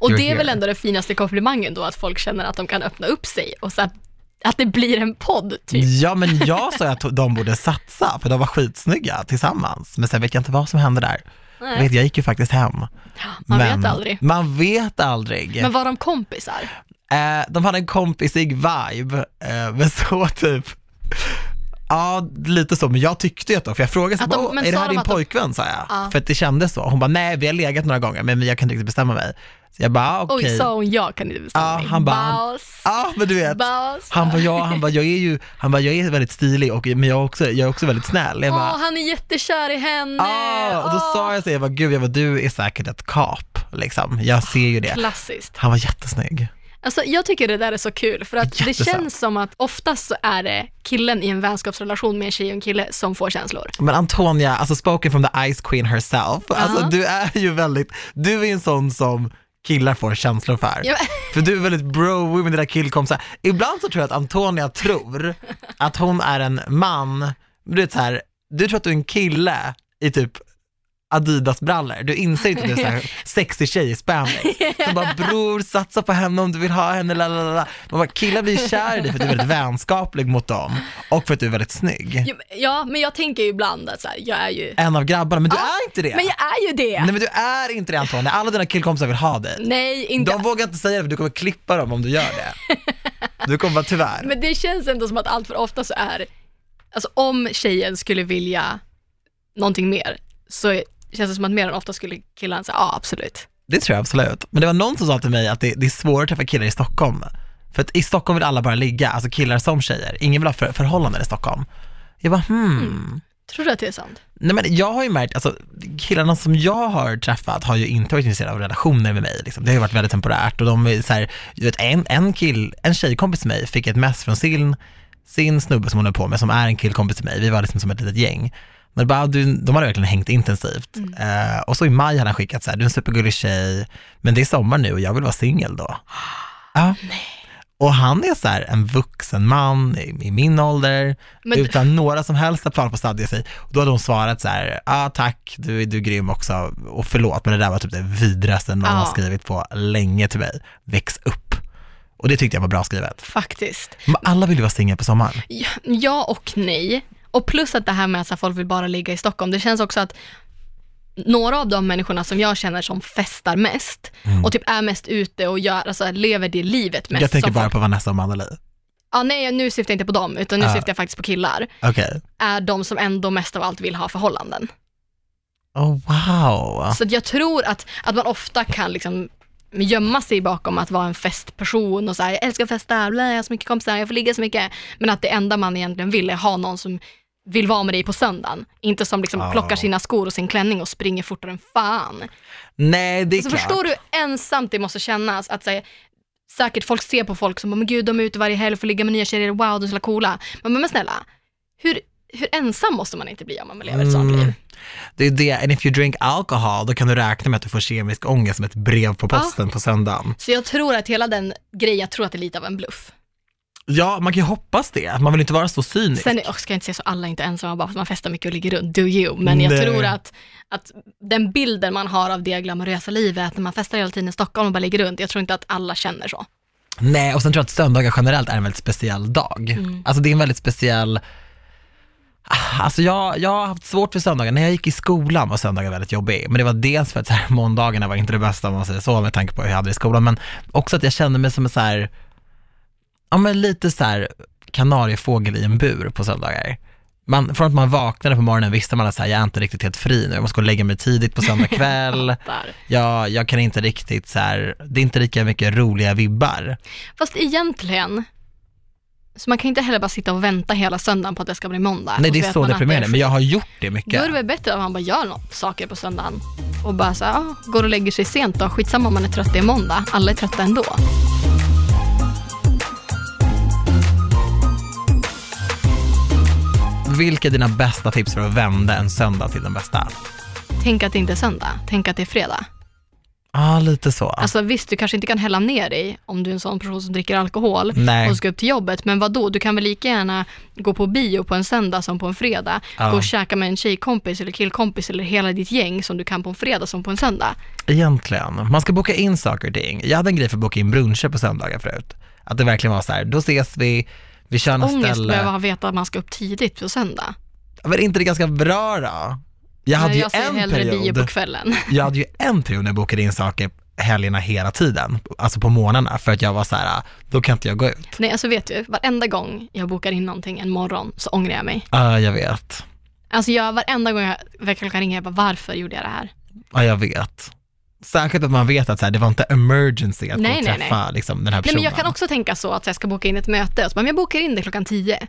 [SPEAKER 2] Och
[SPEAKER 1] you're
[SPEAKER 2] det är väl
[SPEAKER 1] here.
[SPEAKER 2] ändå den finaste komplimangen då, att folk känner att de kan öppna upp sig och så att, att det blir en podd typ.
[SPEAKER 1] Ja, men jag sa ju att de borde satsa, för de var skitsnygga tillsammans. Men sen vet jag inte vad som hände där. Jag,
[SPEAKER 2] Nej,
[SPEAKER 1] vet, jag gick ju faktiskt hem.
[SPEAKER 2] man
[SPEAKER 1] Mm. men,
[SPEAKER 2] vet aldrig.
[SPEAKER 1] Man vet aldrig.
[SPEAKER 2] Men var de kompisar?
[SPEAKER 1] Eh, de hade en kompisig vibe, eh, men så typ, ja lite så, men jag tyckte ju att de, för jag frågade så,
[SPEAKER 2] Att de-
[SPEAKER 1] bara, "Åh,
[SPEAKER 2] men
[SPEAKER 1] är det
[SPEAKER 2] sa
[SPEAKER 1] här
[SPEAKER 2] de
[SPEAKER 1] din
[SPEAKER 2] att de-
[SPEAKER 1] pojkvän? sa jag,
[SPEAKER 2] Ja.
[SPEAKER 1] för att det kändes så. Hon bara, nej vi har legat några gånger, men jag kan inte riktigt bestämma mig. Så jag bara, ah, okej.
[SPEAKER 2] Oj, sa hon jag kan inte bestämma
[SPEAKER 1] Ja,
[SPEAKER 2] mig.
[SPEAKER 1] han bara, han-
[SPEAKER 2] Baus.
[SPEAKER 1] Ja, men du vet.
[SPEAKER 2] Baus.
[SPEAKER 1] Han bara, ja, han bara, jag är ju, han bara, jag är väldigt stilig och, men jag är också, jag är också väldigt snäll. Jag bara,
[SPEAKER 2] Åh, han är jättekär i henne.
[SPEAKER 1] ah, och då
[SPEAKER 2] Åh.
[SPEAKER 1] sa jag så, här, jag bara, gud, jag bara, du är säkert ett kap, liksom. Jag ser ju det.
[SPEAKER 2] Klassiskt.
[SPEAKER 1] Han var jättesnygg.
[SPEAKER 2] Alltså, jag tycker det där är så kul för att det
[SPEAKER 1] Jättesant.
[SPEAKER 2] känns som att oftast så är det killen i en vänskapsrelation med en tjej och en kille som får känslor.
[SPEAKER 1] Men Antonia, alltså spoken from the ice queen herself, alltså
[SPEAKER 2] Ja.
[SPEAKER 1] du är ju väldigt, du är en sån som killar får känslor för.
[SPEAKER 2] Ja,
[SPEAKER 1] För du är väldigt broig med dina killkompisar. Ibland så tror jag att Antonia tror att hon är en man, du vet så här, du tror att du är en kille i typ Adidas-brallor. Du inser inte att du är så här sexig tjej i spandex. Du bara bror, satsa på henne om du vill ha henne, la la la, la. Man bara, killar blir kär i dig för att du är väldigt vänskaplig mot dem och för att du är väldigt snygg.
[SPEAKER 2] men- Ja, men jag tänker ju ibland att så här, jag är ju...
[SPEAKER 1] En av grabbarna, men du är inte det.
[SPEAKER 2] Men jag är ju det!
[SPEAKER 1] Nej men du är inte det Antonia, alla dina killkompisar vill ha dig.
[SPEAKER 2] Nej, inte...
[SPEAKER 1] De vågar inte säga det för du kommer klippa dem om du gör det. Du kommer bara tyvärr.
[SPEAKER 2] Men det känns ändå som att allt för ofta så är... Alltså om tjejen skulle vilja någonting mer så känns det som att mer än ofta skulle killen säga ja, absolut.
[SPEAKER 1] Det tror jag absolut. Men det var någon som sa till mig att det, det är svårare att träffa killar i Stockholm. För att i Stockholm vill alla bara ligga, alltså killar som tjejer. Ingen vill ha för, förhållanden i Stockholm. Jag bara hmm.
[SPEAKER 2] Mm. Tror du att det är sant?
[SPEAKER 1] Nej men jag har ju märkt, alltså killarna som jag har träffat har ju inte varit intresserade av relationer med mig. Liksom. Det har ju varit väldigt temporärt och de är så här, du vet, en, en kill, en tjejkompis till mig fick ett mess från sin, sin snubbe som hon är på med, som är en killkompis till mig. Vi var liksom som ett litet gäng. Men bara, du, de hade verkligen hängt intensivt. Eh, och så i maj hade han skickat så här, du är en supergullig tjej, men det är sommar nu och jag vill vara singel då. Ja. Och han är så här en vuxen man i, i min ålder,
[SPEAKER 2] Men-
[SPEAKER 1] utan några som helst planer på att stadga sig. Då hade hon svarat så här, ah, tack, du, är- du är grym också, och förlåt, men det där var typ det vidraste någon
[SPEAKER 2] Ja.
[SPEAKER 1] har skrivit på länge till mig. Väx upp. Och det tyckte jag var bra skrivet.
[SPEAKER 2] Faktiskt.
[SPEAKER 1] Men alla vill ju vara singel på sommaren.
[SPEAKER 2] Ja- Ja och nej. Och plus att det här med att så här, folk vill bara ligga i Stockholm, det känns också att några av de människorna som jag känner som festar mest och typ är mest ute och gör, alltså, lever det livet mest.
[SPEAKER 1] Mm. jag tänker
[SPEAKER 2] som
[SPEAKER 1] bara
[SPEAKER 2] folk-
[SPEAKER 1] på Vanessa och Mandeli.
[SPEAKER 2] Ja, nej, nu syftar jag inte på dem, utan nu
[SPEAKER 1] Ja.
[SPEAKER 2] syftar jag faktiskt på killar.
[SPEAKER 1] Okej.
[SPEAKER 2] Är de som ändå mest av allt vill ha förhållanden.
[SPEAKER 1] Oh, wow.
[SPEAKER 2] Så att jag tror att, att man ofta kan liksom gömma sig bakom att vara en festperson och säga jag älskar att festa, bla, jag har så mycket kompisar, jag får ligga så mycket. Men att det enda man egentligen vill är ha någon som vill vara med dig på söndagen. Inte som liksom
[SPEAKER 1] Ja.
[SPEAKER 2] plockar sina skor och sin klänning och springer fortare än fan.
[SPEAKER 1] Nej, det är
[SPEAKER 2] Så
[SPEAKER 1] klart.
[SPEAKER 2] Alltså, förstår du hur ensamt det måste kännas att säga Säkert folk ser på folk som bara, men gud de är ute varje helg och får ligga med nya tjejer, wow de är så coola. Men, men snälla, hur, hur ensam måste man inte bli om man lever ett sånt
[SPEAKER 1] Mm.
[SPEAKER 2] liv?
[SPEAKER 1] Det är det, and if you drink alcohol, då kan du räkna med att du får kemisk ångest som ett brev på posten på söndagen.
[SPEAKER 2] Så jag tror att hela den grejen, jag tror att det är lite av en bluff.
[SPEAKER 1] Ja, man kan ju hoppas det. Man vill inte vara så cynisk.
[SPEAKER 2] Sen är- och ska jag inte säga så, alla är inte ensamma bara för att man festar mycket och ligger runt, do you. Men jag
[SPEAKER 1] Nej.
[SPEAKER 2] tror att, att den bilden man har av det glamorösa livet, när man festar hela tiden i Stockholm och bara ligger runt, jag tror inte att alla känner så.
[SPEAKER 1] Nej, och sen tror jag att söndagar generellt är en väldigt speciell dag. Alltså det är en väldigt speciell, Ah, alltså jag, jag har haft svårt för söndagar. När jag gick i skolan var söndagar väldigt jobbig. Men det var dels för att så här, måndagarna var inte det bästa om man säger så med tanke på hur jag hade det i skolan. Men också att jag kände mig som en så här, ja men lite så här kanariefågel i en bur på söndagar. Man, från att man vaknade på morgonen visste man att så här, jag är inte riktigt helt fri nu, jag måste gå och lägga mig tidigt på söndag kväll.
[SPEAKER 2] Där.
[SPEAKER 1] jag, jag kan inte riktigt så här, det är inte lika mycket roliga vibbar.
[SPEAKER 2] Fast egentligen, så man kan inte heller bara sitta och vänta hela söndagen på att det ska bli måndag.
[SPEAKER 1] Nej
[SPEAKER 2] Och
[SPEAKER 1] det är
[SPEAKER 2] vet
[SPEAKER 1] så
[SPEAKER 2] man att
[SPEAKER 1] deprimerande,
[SPEAKER 2] är
[SPEAKER 1] men jag har gjort det
[SPEAKER 2] Då
[SPEAKER 1] mycket.
[SPEAKER 2] är det väl bättre att man bara gör något, saker på söndagen och bara så här, ah, går och lägger sig sent då, skitsamma om man är trött, det är måndag, alla är trötta ändå.
[SPEAKER 1] Vilka är dina bästa tips för att vända en söndag till den bästa?
[SPEAKER 2] Tänk att det inte är söndag, tänk att det är fredag.
[SPEAKER 1] Ja, ah, lite så.
[SPEAKER 2] Alltså visst, du kanske inte kan hälla ner dig om du är en sån person som dricker alkohol
[SPEAKER 1] Nej.
[SPEAKER 2] och ska upp till jobbet, men vad då? du kan väl lika gärna gå på bio på en söndag som på en fredag,
[SPEAKER 1] Ja.
[SPEAKER 2] gå och käka med en tjejkompis eller killkompis eller hela ditt gäng som du kan på en fredag som på en söndag.
[SPEAKER 1] Egentligen. Man ska boka in saker och ting. Jag hade en grej för att boka in bruncher på söndagar förut. Att det verkligen var så här, då ses vi, vi kör något
[SPEAKER 2] ångest
[SPEAKER 1] ställe.
[SPEAKER 2] behöva veta att man ska upp tidigt på söndag.
[SPEAKER 1] Men är inte det ganska bra då? Jag hade
[SPEAKER 2] Nej,
[SPEAKER 1] ju
[SPEAKER 2] jag ser
[SPEAKER 1] en
[SPEAKER 2] hellre bio
[SPEAKER 1] period,
[SPEAKER 2] på kvällen.
[SPEAKER 1] jag hade ju en period när jag bokade in saker helgerna hela tiden, alltså på månaderna, för att jag var så här, "Ah, då kan inte jag gå ut.
[SPEAKER 2] Nej, alltså vet du, varenda gång jag bokar in någonting en morgon så ångrar jag mig.
[SPEAKER 1] Ja, jag vet.
[SPEAKER 2] Alltså jag, varenda gång jag väckarklockan ringer, jag bara varför gjorde jag det här?
[SPEAKER 1] Ja, jag vet. Särskilt att man vet att så här, det var inte emergency att
[SPEAKER 2] Nej,
[SPEAKER 1] gå och
[SPEAKER 2] nej,
[SPEAKER 1] träffa Liksom, den här
[SPEAKER 2] Nej,
[SPEAKER 1] personen.
[SPEAKER 2] men jag kan också tänka så att jag ska boka in ett möte och så bara, men jag bokar in det klockan 10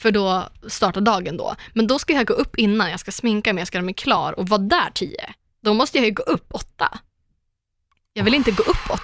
[SPEAKER 2] för då startar dagen då. Men då ska jag gå upp innan, jag ska sminka mig, jag ska göra mig klar och vara där 10. Då måste jag ju gå upp 8. Jag vill inte gå upp 8.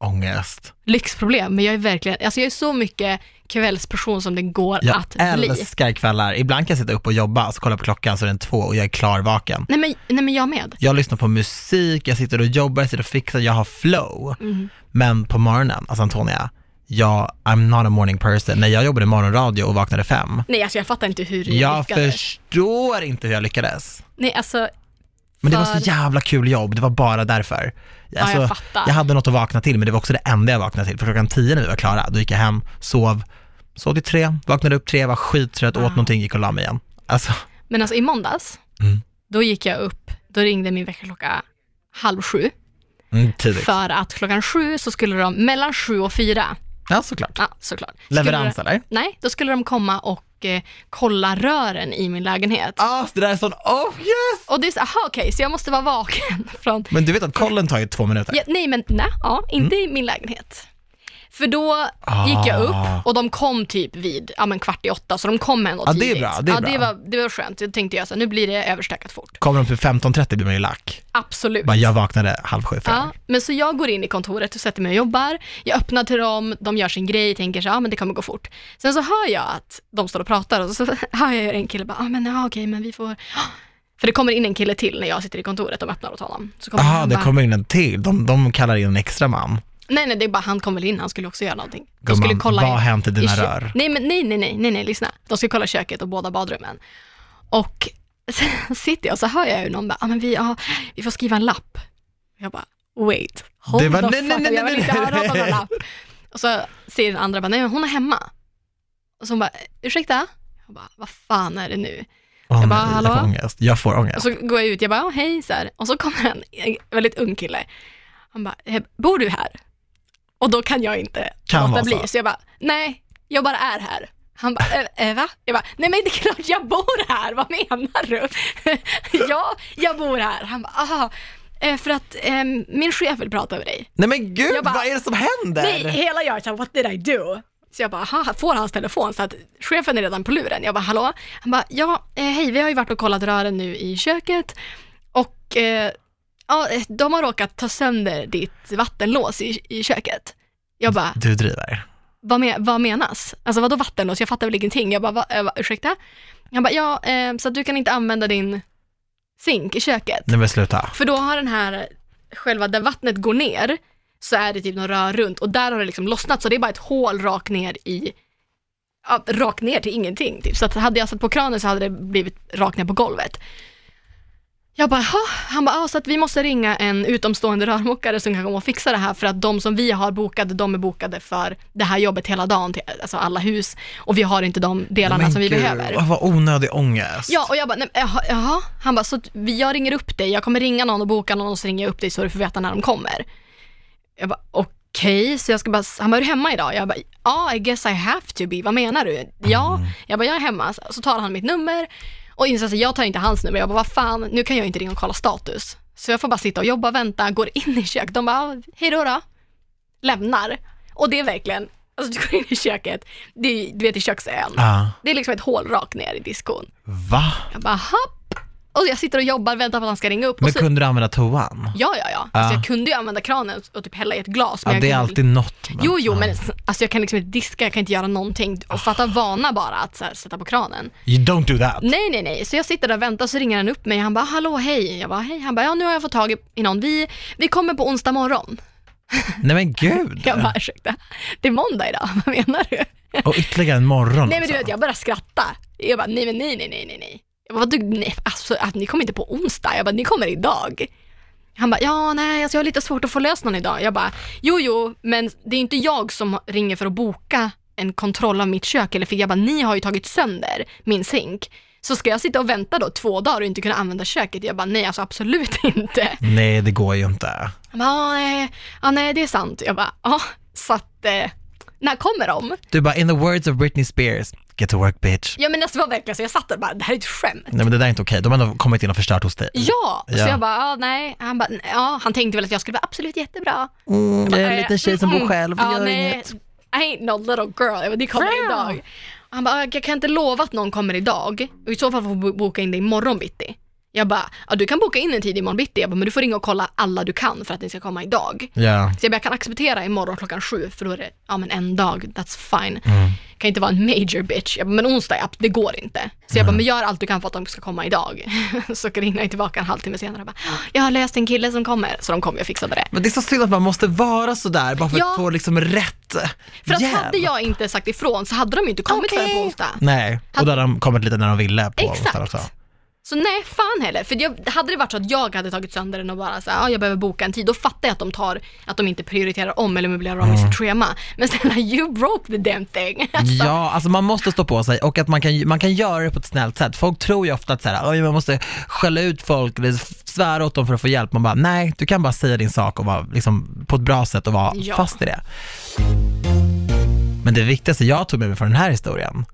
[SPEAKER 1] Ångest.
[SPEAKER 2] Lyxproblem, men jag är verkligen, alltså jag är så mycket kvällsperson som det går
[SPEAKER 1] Jag
[SPEAKER 2] att bli.
[SPEAKER 1] älskar kvällar. Ibland kan jag sitta upp och jobba och så kolla på klockan så är den två och jag är klarvaken.
[SPEAKER 2] Nej men, nej men jag med.
[SPEAKER 1] Jag lyssnar på musik, jag sitter och jobbar, jag sitter och fixar, jag har flow.
[SPEAKER 2] Mhm.
[SPEAKER 1] Men på morgonen, alltså Antonia, jag, I'm not a morning person. När jag jobbade morgonradio och vaknade fem,
[SPEAKER 2] Nej alltså jag fattar inte hur du
[SPEAKER 1] jag
[SPEAKER 2] lyckades.
[SPEAKER 1] förstår inte hur jag lyckades.
[SPEAKER 2] Nej alltså,
[SPEAKER 1] Men det var så
[SPEAKER 2] För-
[SPEAKER 1] jävla kul jobb, det var bara därför. Alltså,
[SPEAKER 2] jag fattar.
[SPEAKER 1] jag hade något att vakna till, men det var också det enda jag vaknade till. För klockan tio när vi var klara, då gick jag hem, sov, sov till tre, vaknade upp tre, var skittrött, åt någonting, gick och la mig igen. Alltså,
[SPEAKER 2] men alltså i måndags,
[SPEAKER 1] Mm.
[SPEAKER 2] då gick jag upp, då ringde min väckarklocka halv sju.
[SPEAKER 1] mm, tidigt.
[SPEAKER 2] För att klockan sju så skulle de, mellan sju och fyra,
[SPEAKER 1] Ja, såklart.
[SPEAKER 2] ja såklart. Skulle
[SPEAKER 1] Leverans
[SPEAKER 2] de,
[SPEAKER 1] eller?
[SPEAKER 2] Nej, då skulle de komma och eh, kolla rören i min lägenhet.
[SPEAKER 1] Ah, så det där är sån, oh yes!
[SPEAKER 2] Och det är så, aha okej, så jag måste vara vaken från,
[SPEAKER 1] Men du vet att kollen tar ju två minuter.
[SPEAKER 2] ja, nej men nej, ja, inte
[SPEAKER 1] Mm.
[SPEAKER 2] i min lägenhet. För då gick jag
[SPEAKER 1] Ah.
[SPEAKER 2] upp och de kom typ vid ja, men kvart i åtta, så de kom ändå
[SPEAKER 1] Ja,
[SPEAKER 2] tidigt.
[SPEAKER 1] det är bra, det är
[SPEAKER 2] ja,
[SPEAKER 1] bra.
[SPEAKER 2] Det, var, det var skönt, då tänkte jag så här, nu blir det överstökat fort.
[SPEAKER 1] Kommer de till 15.30 blir man ju lack.
[SPEAKER 2] Absolut.
[SPEAKER 1] Bara, jag vaknade halv sju för
[SPEAKER 2] Ja, men så jag går in i kontoret och sätter mig och jobbar. Jag öppnar till dem, de gör sin grej, tänker så ja men det kommer gå fort. Sen så hör jag att de står och pratar och så hör jag en kille bara, ah, men ja okej men vi får, ah." för det kommer in en kille till när jag sitter i kontoret, de öppnar åt honom. Så kommer
[SPEAKER 1] Jaha,
[SPEAKER 2] han
[SPEAKER 1] Ah, det
[SPEAKER 2] bara,
[SPEAKER 1] kommer in en till. De, de kallar in en extra man.
[SPEAKER 2] Nej nej, det är bara han kom väl in, han skulle också göra någonting. De
[SPEAKER 1] Gumman,
[SPEAKER 2] skulle kolla
[SPEAKER 1] vad har
[SPEAKER 2] i-
[SPEAKER 1] hänt i dina
[SPEAKER 2] kö-
[SPEAKER 1] rör?
[SPEAKER 2] Nej, men nej, nej, nej, nej, nej, lyssna. De skulle kolla köket och båda badrummen. Och sen sitter jag och så hör jag hur någon bara, ah, men vi, ja, vi får skriva en lapp. Jag bara, wait, hold
[SPEAKER 1] Det var-
[SPEAKER 2] the
[SPEAKER 1] nej,
[SPEAKER 2] fuck
[SPEAKER 1] nej,
[SPEAKER 2] up,
[SPEAKER 1] nej,
[SPEAKER 2] jag vill
[SPEAKER 1] nej,
[SPEAKER 2] inte
[SPEAKER 1] nej.
[SPEAKER 2] höra på någon lapp. Och så säger den andra bara, nej men hon är hemma. Och så hon bara, ursäkta? Jag bara, vad fan är det nu?
[SPEAKER 1] Åh,
[SPEAKER 2] Jag bara,
[SPEAKER 1] nej, jag
[SPEAKER 2] hallå?
[SPEAKER 1] får ångest. Jag får
[SPEAKER 2] Och
[SPEAKER 1] ångest.
[SPEAKER 2] så går jag ut, jag bara, "Ja, hej, så här. Och så kommer en, en väldigt ung kille. Han bara, "Eh, bor du här? Och då kan jag inte
[SPEAKER 1] Kan vara
[SPEAKER 2] låta
[SPEAKER 1] så.
[SPEAKER 2] bli. Så jag bara, nej, jag bara är här. Han bara, "Eh, eh, va? Jag bara, nej men det är klart jag bor här, vad menar du? ja, jag bor här. Han bara, aha, eh, för att eh, min chef vill prata med dig.
[SPEAKER 1] Nej men gud,
[SPEAKER 2] Jag bara-
[SPEAKER 1] vad är det som händer?
[SPEAKER 2] Nej, hela jag är såhär, what did I do? Så jag bara, aha, får hans telefon? Så att chefen är redan på luren. Jag bara, hallå? Han bara, ja, eh, hej, vi har ju varit och kollat rören nu i köket och eh, ja, eh, de har råkat ta sönder ditt vattenlås i, i köket. Jag bara,
[SPEAKER 1] Du driver.
[SPEAKER 2] vad, me- vad menas? Alltså vadå vattenlås? Jag fattar väl ingenting. Jag bara, va, eh, va, ursäkta? Han bara, ja, eh, så att du kan inte använda din zink i köket.
[SPEAKER 1] Nej men sluta.
[SPEAKER 2] För då har den här, själva där vattnet går ner, så är det typ någon rör runt och där har det liksom lossnat så det är bara ett hål rakt ner i, ja, rakt ner till ingenting. Typ. Så att hade jag satt på kranen så hade det blivit rakt ner på golvet. Jag bara, "Jaha." han bara, "Ja, så att vi måste ringa en utomstående rörmokare som kan komma och fixa det här för att de som vi har bokade, de är bokade för det här jobbet hela dagen, till, alltså alla hus och vi har inte de delarna
[SPEAKER 1] Men
[SPEAKER 2] som vi
[SPEAKER 1] gud,
[SPEAKER 2] behöver.
[SPEAKER 1] Vad onödig ångest.
[SPEAKER 2] Ja, och jag bara, nej, men jaha, jaha. Han bara, så att vi- jag ringer upp dig, jag kommer ringa någon och boka någon och så ringer jag upp dig så du får veta när de kommer. Jag bara, okej, så jag ska bara, han bara, är du hemma idag? Jag bara, ja, I guess I have to be, vad menar du? Ja, jag bara, jag är hemma, Så- så tar han mitt nummer och inser att jag tar inte hans nummer, jag bara, vad fan, nu kan jag inte ringa och kolla status. Så jag får bara sitta och jobba, vänta, går in i köket, de bara, "Ja, hej då då, lämnar. Och det är verkligen, alltså du går in i köket, det är, du vet i köksön,
[SPEAKER 1] Ah,
[SPEAKER 2] det är liksom ett hål rakt ner i diskon.
[SPEAKER 1] va?
[SPEAKER 2] Jag bara hopp. Och jag sitter och jobbar, väntar på att han ska ringa upp.
[SPEAKER 1] Men
[SPEAKER 2] och så,
[SPEAKER 1] kunde du använda toan?
[SPEAKER 2] Ja, ja, ja. Alltså,
[SPEAKER 1] Ja.
[SPEAKER 2] jag kunde ju använda kranen och typ hälla i ett glas.
[SPEAKER 1] Ja,
[SPEAKER 2] jag
[SPEAKER 1] det är
[SPEAKER 2] kunde-
[SPEAKER 1] alltid något. men-
[SPEAKER 2] Jo, jo,
[SPEAKER 1] Ja.
[SPEAKER 2] men s- alltså, jag kan liksom inte diska, jag kan inte göra någonting. Och fatta vana bara att så här, sätta på kranen.
[SPEAKER 1] You don't do that.
[SPEAKER 2] Nej, nej, nej. Så jag sitter där och väntar så ringer han upp mig. Han bara, hallå, hej. Jag bara, hej. Han bara, ja nu har jag fått tag i- i någon. Vi, vi kommer på onsdag morgon.
[SPEAKER 1] Nej men gud.
[SPEAKER 2] Jag bara, ursäkta. Det är måndag idag, vad menar du?
[SPEAKER 1] Och ytterligare en morgon
[SPEAKER 2] Nej men du
[SPEAKER 1] också.
[SPEAKER 2] vet, jag började skratta. Jag bara, nej men nej, nej, nej, nej, nej. Jag bara, du, nej, alltså att ni kommer inte på onsdag. Jag bara, ni kommer idag. Han bara, ja nej, alltså jag har lite svårt att få lös någon idag. Jag bara, jo jo, men det är inte jag som ringer för att boka en kontroll av mitt kök. Eller för jag bara, ni har ju tagit sönder min zink. Så ska jag sitta och vänta då två dagar och inte kunna använda köket? Jag bara, nej alltså absolut inte.
[SPEAKER 1] Nej, det går ju inte.
[SPEAKER 2] Han bara, "Ja, nej, ja, nej det är sant. Jag bara, ja, så att eh, när kommer de?
[SPEAKER 1] Du bara, in the words of Britney Spears, get to work bitch.
[SPEAKER 2] Ja men alltså det var verkligen så, jag satt där och bara, det här är ett skämt.
[SPEAKER 1] Nej men det där är inte okej, de har ändå kommit in och förstört hos dig.
[SPEAKER 2] Ja, så
[SPEAKER 1] Mm. Ja.
[SPEAKER 2] jag bara, ja nej. Han bara, ja, han tänkte väl att jag skulle vara absolut jättebra.
[SPEAKER 1] Mm, jag är en
[SPEAKER 2] Eh,
[SPEAKER 1] liten tjej som bor
[SPEAKER 2] mm,
[SPEAKER 1] själv,
[SPEAKER 2] ja,
[SPEAKER 1] gör
[SPEAKER 2] nej,
[SPEAKER 1] inget.
[SPEAKER 2] I ain't no little girl, Jag bara, det kommer idag. Och Han bara, jag kan inte lova att någon kommer idag och i så fall får du boka in dig imorgon bitti. Jag bara, ja, du kan boka in en tid imorgon bitti, jag bara, men du får ringa och kolla alla du kan för att ni ska komma idag.
[SPEAKER 1] Ja,
[SPEAKER 2] Så jag, bara, jag kan acceptera imorgon klockan sju för då är det, ja men en dag, that's fine.
[SPEAKER 1] Mm.
[SPEAKER 2] Kan inte vara en major bitch. Jag bara, men onsdag, ja, det går inte. Så jag bara, men gör allt du kan för att de ska komma idag. så ringer jag tillbaka en halvtimme senare och bara, jag har läst en kille som kommer. Så de kom och jag fixade det.
[SPEAKER 1] men det är så synd att man måste vara sådär bara för
[SPEAKER 2] Ja.
[SPEAKER 1] att få liksom rätt
[SPEAKER 2] För att
[SPEAKER 1] hjälp.
[SPEAKER 2] hade jag inte sagt ifrån så hade de ju inte kommit
[SPEAKER 1] Okej.
[SPEAKER 2] förrän på onsdag.
[SPEAKER 1] Nej, och då hade de kommit lite när de ville på
[SPEAKER 2] Exakt.
[SPEAKER 1] onsdagen också.
[SPEAKER 2] Så nej, fan heller. För jag, hade det varit så att jag hade tagit sönder den och bara så här, ah, jag behöver boka en tid, då fattar jag att de tar, att de inte prioriterar om eller möblerar om i sitt schema. Men snälla, you broke the damn thing.
[SPEAKER 1] Mm. Ja, alltså man måste stå på sig och att man kan, man kan göra det på ett snällt sätt. Folk tror ju ofta att så här, "Oj, man måste skälla ut folk eller svära åt dem för att få hjälp. Man bara, nej, du kan bara säga din sak och vara liksom, på ett bra sätt och vara
[SPEAKER 2] Ja.
[SPEAKER 1] fast i det. Men det viktigaste jag tog med mig från den här historien,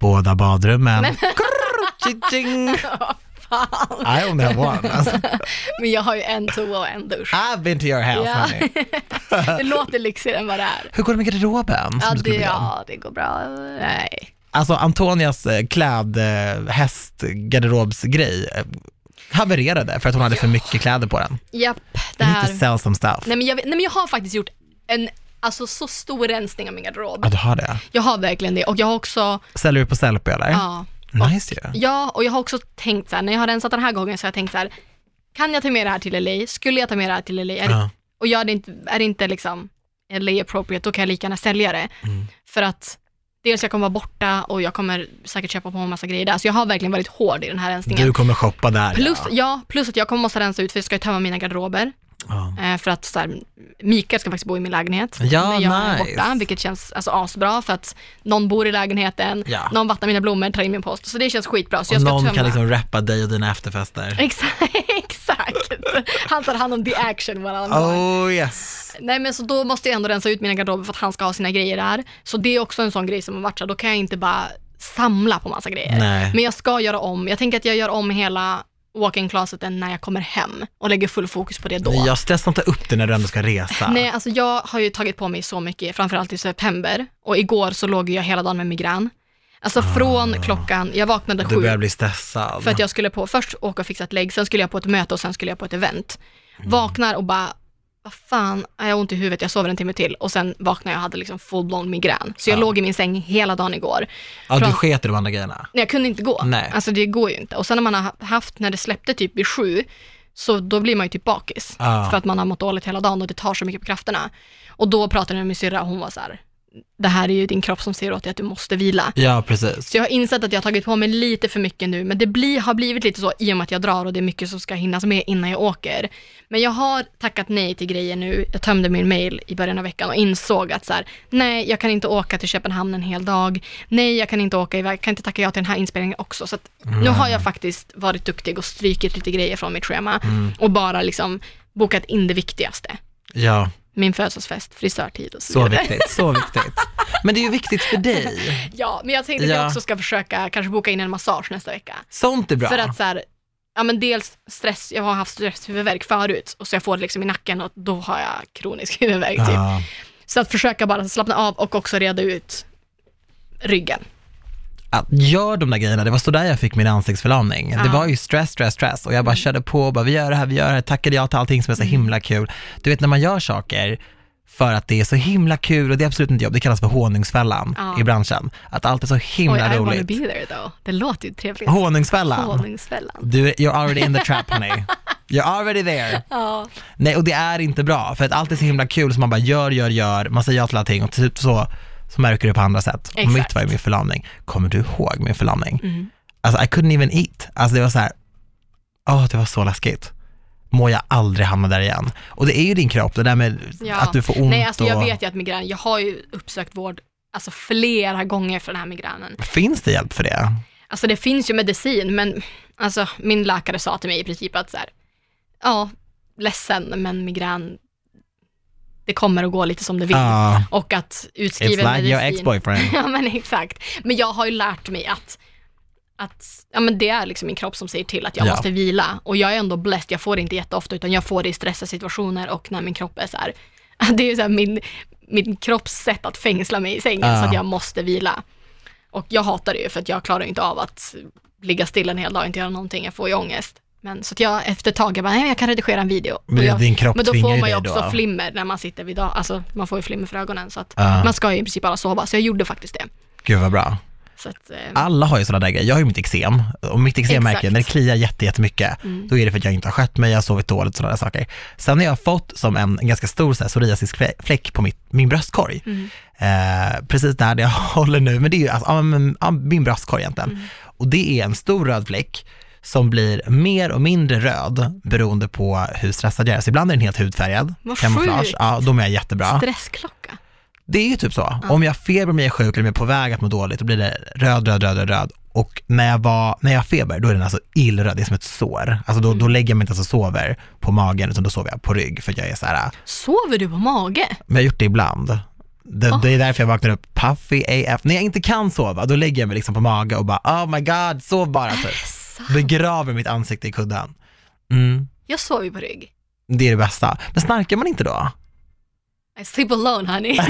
[SPEAKER 1] båda badrummen. Krrr, tjing,
[SPEAKER 2] fan.
[SPEAKER 1] I only have one. Alltså,
[SPEAKER 2] Men jag har ju en toa och en dusch.
[SPEAKER 1] I've been to your house
[SPEAKER 2] Ja.
[SPEAKER 1] honey.
[SPEAKER 2] Det låter lyxigare än vad det är.
[SPEAKER 1] Hur går det med garderoben? som
[SPEAKER 2] Ja
[SPEAKER 1] du skulle
[SPEAKER 2] det,
[SPEAKER 1] be om?
[SPEAKER 2] ja, det går bra. Nej.
[SPEAKER 1] Alltså Antonias eh, kläd, eh, häst, garderobsgrej eh, havererade för att hon hade för mycket kläder på den.
[SPEAKER 2] Japp, det
[SPEAKER 1] You need
[SPEAKER 2] här.
[SPEAKER 1] to sell some stuff.
[SPEAKER 2] Nej men, jag, vet- nej men jag har faktiskt gjort en, alltså så stor rensning av min garderob.
[SPEAKER 1] Ja, du har det.
[SPEAKER 2] Jag har verkligen det och jag har också,
[SPEAKER 1] Säljer du på Sellpy eller?
[SPEAKER 2] ja.
[SPEAKER 1] Nice ju.
[SPEAKER 2] Ja, och jag har också tänkt så här, när jag har rensat den här gången så har jag tänkt så här, kan jag ta med det här till LA? Skulle jag ta med det här till LA? Är
[SPEAKER 1] Ja.
[SPEAKER 2] det, och gör det inte, är det inte liksom LA appropriate, då kan jag lika gärna sälja det. För att dels jag kommer vara borta och jag kommer säkert köpa på mig en massa grejer där. Så jag har verkligen varit hård i den här rensningen.
[SPEAKER 1] Du kommer shoppa där
[SPEAKER 2] Plus,
[SPEAKER 1] ja.
[SPEAKER 2] ja, plus att jag kommer måste rensa ut för jag ska ju tömma mina garderober.
[SPEAKER 1] ja.
[SPEAKER 2] Eh, för att så här, Mikael ska faktiskt bo i min lägenhet
[SPEAKER 1] Ja,
[SPEAKER 2] när jag är
[SPEAKER 1] nice.
[SPEAKER 2] borta, vilket känns alltså, asbra för att någon bor i lägenheten,
[SPEAKER 1] Ja.
[SPEAKER 2] någon vattnar mina blommor, tar in min post. Så det känns skitbra. Så jag
[SPEAKER 1] Och
[SPEAKER 2] ska
[SPEAKER 1] någon
[SPEAKER 2] tömma.
[SPEAKER 1] kan liksom rappa dig och dina efterfester.
[SPEAKER 2] Exakt, exakt. Han tar hand om the action varannan dag.
[SPEAKER 1] Oh yes.
[SPEAKER 2] Nej men så då måste jag ändå rensa ut mina garderober för att han ska ha sina grejer där. Så det är också en sån grej som har varit så här, då kan jag inte bara samla på massa grejer.
[SPEAKER 1] Nej.
[SPEAKER 2] Men jag ska göra om, jag tänker att jag gör om hela walk-in closeten när jag kommer hem och lägger full fokus på det då.
[SPEAKER 1] Jag stressar inte upp dig när du ändå ska resa.
[SPEAKER 2] Nej, alltså jag har ju tagit på mig så mycket, framförallt i september. Och igår så låg jag hela dagen med migrän. Alltså från klockan, jag vaknade
[SPEAKER 1] Du
[SPEAKER 2] sju
[SPEAKER 1] Ah. börjar bli stressad.
[SPEAKER 2] för att jag skulle på, först åka och fixa ett lägg, sen skulle jag på ett möte och sen skulle jag på ett event.
[SPEAKER 1] Mm.
[SPEAKER 2] Vaknar och bara, vad fan, jag har ont i huvudet, jag sover en timme till. Och sen vaknar jag och hade liksom full-blown migrän. Så jag
[SPEAKER 1] Ja.
[SPEAKER 2] låg i min säng hela dagen igår.
[SPEAKER 1] ja, du
[SPEAKER 2] från-
[SPEAKER 1] sket i de andra grejerna.
[SPEAKER 2] Nej, jag kunde inte gå.
[SPEAKER 1] Nej.
[SPEAKER 2] Alltså det går ju inte. Och sen när man har haft, när det släppte typ vid sju, så då blir man ju typ bakis.
[SPEAKER 1] Ja.
[SPEAKER 2] För att man har mått dåligt hela dagen och det tar så mycket på krafterna. Och då pratade jag med min syrra och hon var så här, det här är ju din kropp som säger åt dig att du måste vila.
[SPEAKER 1] Ja, precis.
[SPEAKER 2] Så jag har insett att jag har tagit på mig lite för mycket nu, men det blir, har blivit lite så i och med att jag drar och det är mycket som ska hinnas med innan jag åker. Men jag har tackat nej till grejer nu. Jag tömde min mail i början av veckan och insåg att så här, nej, jag kan inte åka till Köpenhamn en hel dag. Nej, jag kan inte åka iväg, kan inte tacka ja till den här inspelningen också. Så att nu har jag faktiskt varit duktig och strykit lite grejer från mitt schema och bara liksom bokat in det viktigaste.
[SPEAKER 1] Ja,
[SPEAKER 2] Min födelsedagsfest, frisörtid och så,
[SPEAKER 1] så
[SPEAKER 2] vidare.
[SPEAKER 1] viktigt. Så viktigt. Men det är ju viktigt för dig.
[SPEAKER 2] Ja, men jag tänkte att
[SPEAKER 1] Ja.
[SPEAKER 2] jag också ska försöka kanske boka in en massage nästa vecka.
[SPEAKER 1] Sånt är bra.
[SPEAKER 2] För att så här, ja men dels stress, jag har haft stresshuvudvärk förut och så jag får det liksom i nacken och då har jag kronisk huvudvärk typ.
[SPEAKER 1] Ja.
[SPEAKER 2] Så att försöka bara slappna av och också reda ut ryggen.
[SPEAKER 1] att gör de där grejerna, det var så där jag fick min ansiktsförlamning. Det
[SPEAKER 2] Ja. Mm.
[SPEAKER 1] var ju stress, stress, stress och jag bara körde på och bara vi gör det här, vi gör det här, tackade jag till allting som är så himla kul. Du vet när man gör saker för att det är så himla kul och det är absolut inte jobb, det kallas för honungsfällan
[SPEAKER 2] Ja.
[SPEAKER 1] i branschen. Att allt är så
[SPEAKER 2] Oj,
[SPEAKER 1] himla
[SPEAKER 2] I wanna
[SPEAKER 1] roligt.
[SPEAKER 2] be there though. Det låter ju trevligt.
[SPEAKER 1] Honungsfällan.
[SPEAKER 2] Honungsfällan.
[SPEAKER 1] Du, you're already in the trap honey. You're already there.
[SPEAKER 2] Ja.
[SPEAKER 1] Nej, och det är inte bra, för att allt är så himla kul, så man bara gör, gör, gör, man säger ja till allting och till slut så, så märker du på andra sätt. Och
[SPEAKER 2] Exakt. Mm.
[SPEAKER 1] Mitt var ju min förlamning. Kommer du ihåg min förlamning? Alltså, I couldn't even eat. Alltså det var så här, åh, det var så läskigt. Må jag aldrig hamna där igen. Och det är ju din kropp, det där med
[SPEAKER 2] Ja.
[SPEAKER 1] att du får ont
[SPEAKER 2] Nej, alltså jag
[SPEAKER 1] och...
[SPEAKER 2] vet ju att migrän, jag har ju uppsökt vård alltså flera gånger för den här migränen.
[SPEAKER 1] Finns det hjälp för det?
[SPEAKER 2] Alltså det finns ju medicin, men alltså, min läkare sa till mig i princip att så här, ja, ledsen, men migrän, det kommer att gå lite som det vill.
[SPEAKER 1] Ja.
[SPEAKER 2] Och att utskriven
[SPEAKER 1] Ah. It's like your
[SPEAKER 2] medicin.
[SPEAKER 1] ex-boyfriend.
[SPEAKER 2] ja, men exakt. Men jag har ju lärt mig att, att ja, men det är liksom min kropp som säger till att jag
[SPEAKER 1] Ja.
[SPEAKER 2] måste vila. Och jag är ändå blessed, jag får det inte jätteofta, utan jag får det i stressiga situationer och när min kropp är så här, det är ju så här min, min kropps sätt att fängsla mig i sängen,
[SPEAKER 1] Ja.
[SPEAKER 2] så att jag måste vila. Och jag hatar det ju för att jag klarar ju inte av att ligga stilla en hel dag och inte göra någonting, jag får ju ångest. Men så att jag efter ett tag, jag bara, nej jag kan redigera en video.
[SPEAKER 1] Men
[SPEAKER 2] Och jag,
[SPEAKER 1] din kropp
[SPEAKER 2] men då
[SPEAKER 1] tvingar
[SPEAKER 2] får
[SPEAKER 1] ju
[SPEAKER 2] man ju
[SPEAKER 1] dig
[SPEAKER 2] också
[SPEAKER 1] då.
[SPEAKER 2] flimmer när man sitter vid dag, alltså man får ju flimmer för ögonen så att
[SPEAKER 1] Ja.
[SPEAKER 2] man ska ju i princip bara sova, så jag gjorde faktiskt det.
[SPEAKER 1] Gud vad bra.
[SPEAKER 2] Så att, eh,
[SPEAKER 1] Alla har ju sådana där grejer. Jag har ju mitt eksem och mitt eksem
[SPEAKER 2] Exakt. Mm.
[SPEAKER 1] märker jag, när det kliar jätte- jättemycket, då är det för att jag inte har skött mig, jag har sovit dåligt och sådana där saker. Sen har jag fått som en, en ganska stor så här, psoriasisk flä- fläck på mitt, min bröstkorg.
[SPEAKER 2] Mm.
[SPEAKER 1] Eh, precis där jag håller nu, men det är ju alltså, ja, men, ja, min bröstkorg egentligen.
[SPEAKER 2] Mm.
[SPEAKER 1] Och det är en stor röd fläck som blir mer och mindre röd beroende på hur stressad jag är. Så ibland är den helt hudfärgad,
[SPEAKER 2] Vad
[SPEAKER 1] kamouflage,
[SPEAKER 2] sjukt.
[SPEAKER 1] ja, då mår jag jättebra.
[SPEAKER 2] Stressklocka.
[SPEAKER 1] Det är ju typ så. Om jag har feber, om jag är sjuk eller om jag är på väg att må dåligt, då blir det röd, röd, röd, röd, röd. Och när jag, var, när jag har feber, då är den alltså illröd, det är som ett sår. Alltså då, då lägger jag mig inte ens och sover på magen, utan då sover jag på rygg, för att jag är så här,
[SPEAKER 2] Sover du på mage?
[SPEAKER 1] men jag har gjort det ibland. Det, det är därför jag vaknar upp puffy AF. När jag inte kan sova, då lägger jag mig liksom på mage och bara oh my god, sov bara typ. Begraver mitt ansikte i kudden. Mm,
[SPEAKER 2] Jag sover ju på rygg.
[SPEAKER 1] det är det bästa. Men snarkar man inte då?
[SPEAKER 2] I sleep alone honey.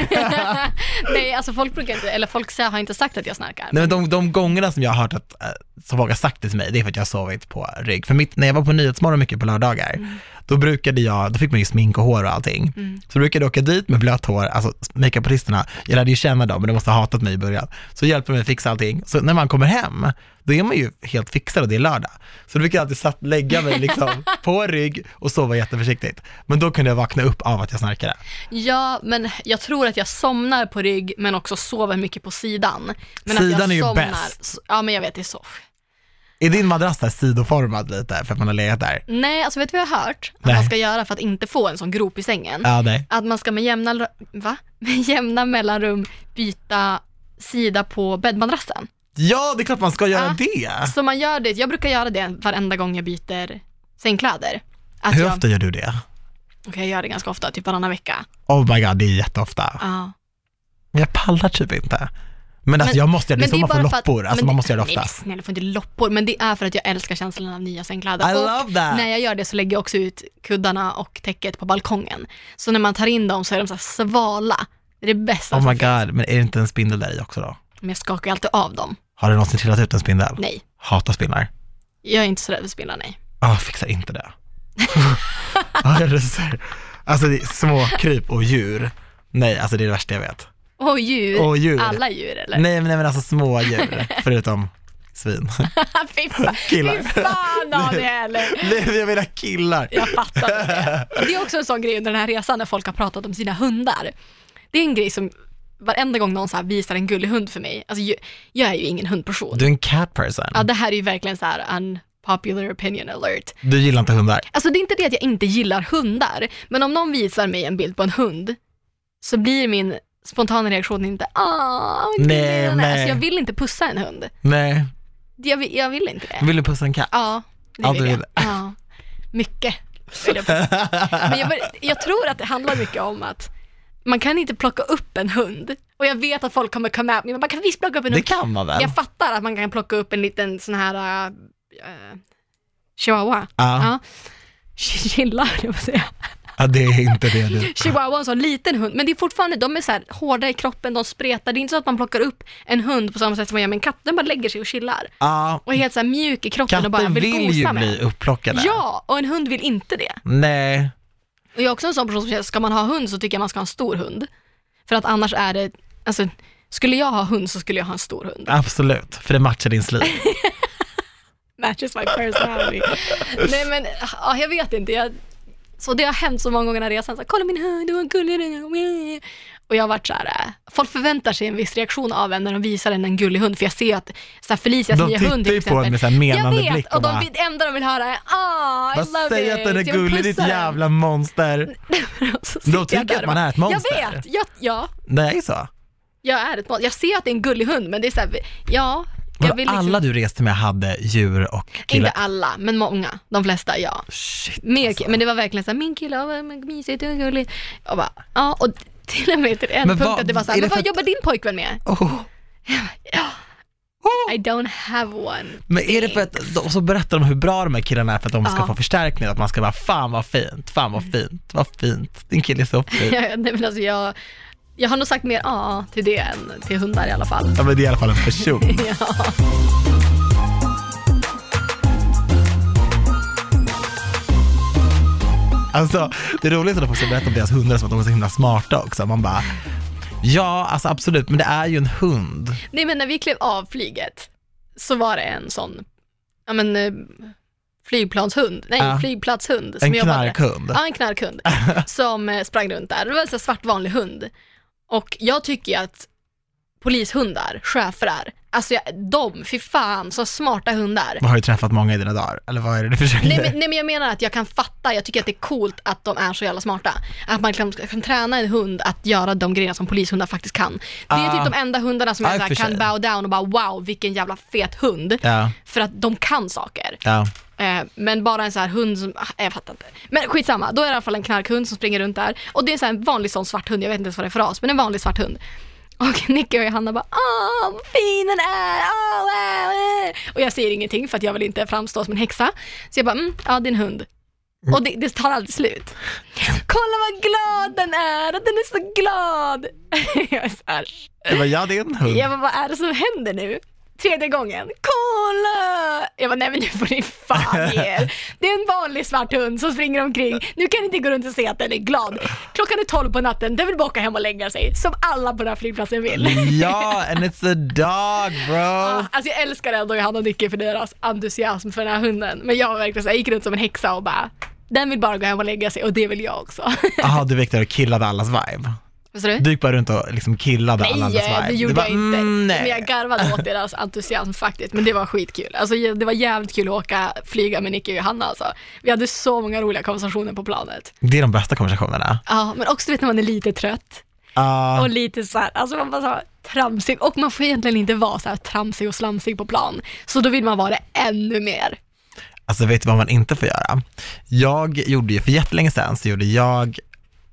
[SPEAKER 2] Nej, alltså folk brukar inte, eller folk har inte sagt att jag snarkar.
[SPEAKER 1] Nej, men de, de gångerna som jag har hört att, eh, som folk har sagt det till mig, det är för att jag har sovit på rygg. För mitt, när jag var på Nyhetsmorgon mycket på lördagar, då brukade jag, då fick man ju smink och hår och allting. Så brukade jag åka dit med blött hår, alltså makeupartisterna, jag lärde ju känna dem, men de måste ha hatat mig i början. Så hjälpte de mig att fixa allting. Så när man kommer hem, då är man ju helt fixad och det är lördag. Så då brukar jag alltid satt, lägga mig liksom på rygg och sova jätteförsiktigt. Men då kunde jag vakna upp av att jag snarkade.
[SPEAKER 2] Ja, men jag tror att jag somnar på rygg men också sover mycket på sidan. Men att
[SPEAKER 1] Sidan
[SPEAKER 2] jag
[SPEAKER 1] är ju
[SPEAKER 2] somnar,
[SPEAKER 1] bäst.
[SPEAKER 2] Ja, men jag vet, det är så.
[SPEAKER 1] Är din madrass där sidoformad lite, för att man har legat där?
[SPEAKER 2] Nej, alltså vet du vad jag har hört? Att
[SPEAKER 1] Nej.
[SPEAKER 2] man ska göra för att inte få en sån grop i sängen.
[SPEAKER 1] Ja, nej.
[SPEAKER 2] Att man ska med jämna, va? Med jämna mellanrum byta sida på bäddmadrassen.
[SPEAKER 1] Ja, det är klart man ska göra
[SPEAKER 2] Ja.
[SPEAKER 1] det.
[SPEAKER 2] Så man gör det, jag brukar göra det varenda gång jag byter sängkläder. Att
[SPEAKER 1] Hur
[SPEAKER 2] jag,
[SPEAKER 1] ofta gör du det?
[SPEAKER 2] Okej, jag gör det ganska ofta, typ varannan vecka.
[SPEAKER 1] Oh my god, det är jätteofta.
[SPEAKER 2] Ja.
[SPEAKER 1] Men jag pallar typ inte. Men alltså
[SPEAKER 2] Men-
[SPEAKER 1] jag måste göra det,
[SPEAKER 2] men
[SPEAKER 1] som man får loppor. Alltså
[SPEAKER 2] men
[SPEAKER 1] man måste göra det
[SPEAKER 2] Nej,
[SPEAKER 1] ofta.
[SPEAKER 2] men snälla, du får inte loppor, men det är för att jag älskar känslan av nya sängkläder.
[SPEAKER 1] I
[SPEAKER 2] Och
[SPEAKER 1] love that.
[SPEAKER 2] När jag gör det så lägger jag också ut kuddarna och täcket på balkongen. Så när man tar in dem så är de så här svala. Det är det bästa.
[SPEAKER 1] Oh
[SPEAKER 2] som
[SPEAKER 1] my
[SPEAKER 2] finns.
[SPEAKER 1] god, men är det inte en spindel där i också då?
[SPEAKER 2] Men jag skakar ju alltid av dem.
[SPEAKER 1] Har du någonsin trillat ut en spindel?
[SPEAKER 2] Nej,
[SPEAKER 1] Hatar spindlar.
[SPEAKER 2] jag är inte så rädd för spindlar, nej.
[SPEAKER 1] Ah, fixar inte det. Ah, jag ryser. alltså det är små kryp och djur. Nej, alltså det är det värsta jag vet.
[SPEAKER 2] Och djur.
[SPEAKER 1] Och djur.
[SPEAKER 2] Alla djur eller?
[SPEAKER 1] Nej, men, nej, men alltså små djur, förutom svin.
[SPEAKER 2] Ah, fy fan,
[SPEAKER 1] Killar.
[SPEAKER 2] fy fan Daniel!
[SPEAKER 1] Nej, men jag menar killar.
[SPEAKER 2] Jag fattar det. Det är också en sån grej under den här resan när folk har pratat om sina hundar. Det är en grej som varenda gång någon så här visar en gullig hund för mig, alltså ju- jag är ju ingen hundperson.
[SPEAKER 1] Du är en cat person.
[SPEAKER 2] Ja, det här är ju verkligen så här unpopular opinion alert.
[SPEAKER 1] Du gillar inte hundar.
[SPEAKER 2] Alltså det är inte det att jag inte gillar hundar, men om någon visar mig en bild på en hund så blir min spontana reaktion inte ah, vad gullig
[SPEAKER 1] Nej,
[SPEAKER 2] den är."
[SPEAKER 1] nej.
[SPEAKER 2] Alltså jag vill inte pussa en hund.
[SPEAKER 1] Nej,
[SPEAKER 2] Jag vill, jag vill inte det.
[SPEAKER 1] vill du pussa en katt?
[SPEAKER 2] Ja, det
[SPEAKER 1] Ja,
[SPEAKER 2] vill
[SPEAKER 1] du
[SPEAKER 2] jag.
[SPEAKER 1] vill.
[SPEAKER 2] Ja. Mycket. vill jag påstå. Men jag, bör- jag tror att det handlar mycket om att man kan inte plocka upp en hund. Och jag vet att folk kommer komma med mig, man kan visst plocka upp en
[SPEAKER 1] Det
[SPEAKER 2] hund.
[SPEAKER 1] kan man väl?
[SPEAKER 2] Jag fattar att man kan plocka upp en liten sån här eh, chihuahua.
[SPEAKER 1] Ja.
[SPEAKER 2] Ja. Chilla höll jag på att säga.
[SPEAKER 1] Ja, det är inte det du.
[SPEAKER 2] Chihuahua är en sån liten hund, men det är fortfarande, de är så här hårda i kroppen, de spretar. Det är inte så att man plockar upp en hund på samma sätt som man gör med en katt. Den bara lägger sig och chillar.
[SPEAKER 1] Ja,
[SPEAKER 2] Och är helt så här mjuk i kroppen och bara
[SPEAKER 1] katter
[SPEAKER 2] vill,
[SPEAKER 1] vill
[SPEAKER 2] gosa
[SPEAKER 1] ju
[SPEAKER 2] med.
[SPEAKER 1] bli upplockade.
[SPEAKER 2] Ja, och en hund vill inte det.
[SPEAKER 1] Nej,
[SPEAKER 2] Och jag är också en sån person som säger, ska man ha hund så tycker jag man ska ha en stor hund. För att annars är det, alltså skulle jag ha hund så skulle jag ha en stor hund.
[SPEAKER 1] absolut. För det matchar din stil.
[SPEAKER 2] Matches my personality. Nej men, ja, jag vet inte. Jag, så det har hänt så många gånger den här resan, så här, kolla min hund, vad gullig den är. Och jag har varit så här, äh, folk förväntar sig en viss reaktion av en när de visar en en gullig hund, för jag ser att så här, Felicias
[SPEAKER 1] De
[SPEAKER 2] nya
[SPEAKER 1] tittar
[SPEAKER 2] hund till
[SPEAKER 1] ju på en
[SPEAKER 2] exempel.
[SPEAKER 1] med så här menande
[SPEAKER 2] jag
[SPEAKER 1] blick
[SPEAKER 2] vet,
[SPEAKER 1] och
[SPEAKER 2] och de,
[SPEAKER 1] bara-
[SPEAKER 2] vill- det enda de vill höra är, ah, I
[SPEAKER 1] Vad
[SPEAKER 2] love
[SPEAKER 1] säger
[SPEAKER 2] it.
[SPEAKER 1] att den är
[SPEAKER 2] Jag vill
[SPEAKER 1] gullig, ditt
[SPEAKER 2] pussa den."
[SPEAKER 1] jävla monster.
[SPEAKER 2] Och så sitter jag
[SPEAKER 1] tycker
[SPEAKER 2] där
[SPEAKER 1] att
[SPEAKER 2] och
[SPEAKER 1] man
[SPEAKER 2] bara,
[SPEAKER 1] är ett monster.
[SPEAKER 2] Jag vet, jag, ja,
[SPEAKER 1] Nej, så.
[SPEAKER 2] jag är ett monster. Jag ser att det är en gullig hund, men det är så här, ja,
[SPEAKER 1] Vadå,
[SPEAKER 2] Jag vill liksom-
[SPEAKER 1] Alla du reste med hade djur och killar?
[SPEAKER 2] Inte alla, men många. De flesta, ja.
[SPEAKER 1] Shit,
[SPEAKER 2] Mer,
[SPEAKER 1] alltså.
[SPEAKER 2] Men det var verkligen så här, min kille, oh, mysigt och gulligt. Och bara, ja, och till och med till en
[SPEAKER 1] Men
[SPEAKER 2] punkt
[SPEAKER 1] vad-
[SPEAKER 2] att det var så
[SPEAKER 1] är det
[SPEAKER 2] här, men
[SPEAKER 1] för
[SPEAKER 2] vad
[SPEAKER 1] att-
[SPEAKER 2] jobbar din pojkvän med?
[SPEAKER 1] Oh.
[SPEAKER 2] Ja,
[SPEAKER 1] Oh.
[SPEAKER 2] I don't have one.
[SPEAKER 1] Men är det för att, och så berättar de hur bra de här killarna är för att de ska
[SPEAKER 2] Ja.
[SPEAKER 1] få förstärkning, att man ska vara fan vad fint, fan vad fint, vad fint, din kille är så fin.
[SPEAKER 2] Ja, nej, men alltså jag, jag har nog sagt mer ja till det än till hundar i alla fall.
[SPEAKER 1] Ja men det är i alla fall en person.
[SPEAKER 2] Ja.
[SPEAKER 1] Alltså, det roligaste är när folk ska berätta om deras hundar som att de är så himla smarta också. Man bara, ja alltså absolut, men det är ju en hund.
[SPEAKER 2] Nej men när vi klev av flyget så var det en sån, ja men eh, flygplanshund, nej
[SPEAKER 1] Ja.
[SPEAKER 2] flygplatshund.
[SPEAKER 1] En
[SPEAKER 2] jobbade-
[SPEAKER 1] knarkhund.
[SPEAKER 2] Ja, en knarkhund som eh, sprang runt där. Det var en sån här svart vanlig hund. Och jag tycker ju att polishundar, schäfrar, alltså jag, de, fy fan, så smarta hundar.
[SPEAKER 1] Har du träffat många i dina dagar? Eller vad är det du försöker
[SPEAKER 2] Nej men, nej men jag menar att jag kan fatta, jag tycker att det är coolt att de är så jävla smarta. Att man kan, kan träna en hund att göra de grejerna som polishundar faktiskt kan. Det är
[SPEAKER 1] Ah.
[SPEAKER 2] typ de enda hundarna som
[SPEAKER 1] Ja, i
[SPEAKER 2] jag
[SPEAKER 1] och
[SPEAKER 2] såhär,
[SPEAKER 1] för sig.
[SPEAKER 2] kan bow down och bara wow vilken jävla fet hund.
[SPEAKER 1] Ja,
[SPEAKER 2] För att de kan saker.
[SPEAKER 1] ja.
[SPEAKER 2] Eh, men bara en sån här hund som, ah, jag fattar inte. Men skitsamma, då är det i alla fall en knarkhund som springer runt där. Och det är en sån här vanlig sån svart hund, jag vet inte ens vad det är för ras, men en vanlig svart hund. Och Nicky och Johanna bara åh vad fin den är, åh wow, wow. Och jag säger ingenting för att jag vill inte framstå som en häxa. Så jag bara, mm, ja det är en hund. Och det, det tar aldrig slut. Kolla vad glad den är, den är så glad. jag är så här,
[SPEAKER 1] Det var ja det är en hund.
[SPEAKER 2] jag bara, vad är det som händer nu? Tredje gången, kolla! Jag bara, nej men nu får ni fan ge er. Det är en vanlig svart hund som springer omkring. Nu kan ni inte gå runt och säga att den är glad. Klockan är tolv på natten, den vill bara åka hem och lägga sig. Som alla på den här flygplatsen vill.
[SPEAKER 1] Ja, and it's a dog bro.
[SPEAKER 2] Alltså jag älskar ändå Johanna och Nicky för deras entusiasm för den här hunden. Men jag var verkligen så jag gick runt som en häxa och bara, den vill bara gå hem och lägga sig och det vill jag också.
[SPEAKER 1] Jaha, du gick där och killade allas vibe.
[SPEAKER 2] Vad sa du?
[SPEAKER 1] Du gick bara runt och liksom killade alla
[SPEAKER 2] Nej,
[SPEAKER 1] andras vibe.
[SPEAKER 2] det gjorde
[SPEAKER 1] Du bara,
[SPEAKER 2] jag inte.
[SPEAKER 1] Mm,
[SPEAKER 2] Men
[SPEAKER 1] nej.
[SPEAKER 2] jag garvade åt deras entusiasm faktiskt. Men det var skitkul. Alltså, jag- det var jävligt kul att åka flyga med Nicky och Johanna. Alltså. Vi hade så många roliga konversationer på planet.
[SPEAKER 1] Det är de bästa konversationerna.
[SPEAKER 2] Ja, men också du vet när man är lite trött
[SPEAKER 1] Ja.
[SPEAKER 2] och lite så här, alltså man bara så här, tramsig. Och man får egentligen inte vara så här tramsig och slamsig på plan. Så då vill man vara det ännu mer.
[SPEAKER 1] Alltså vet du vad man inte får göra? Jag gjorde ju för jättelänge sedan, så gjorde jag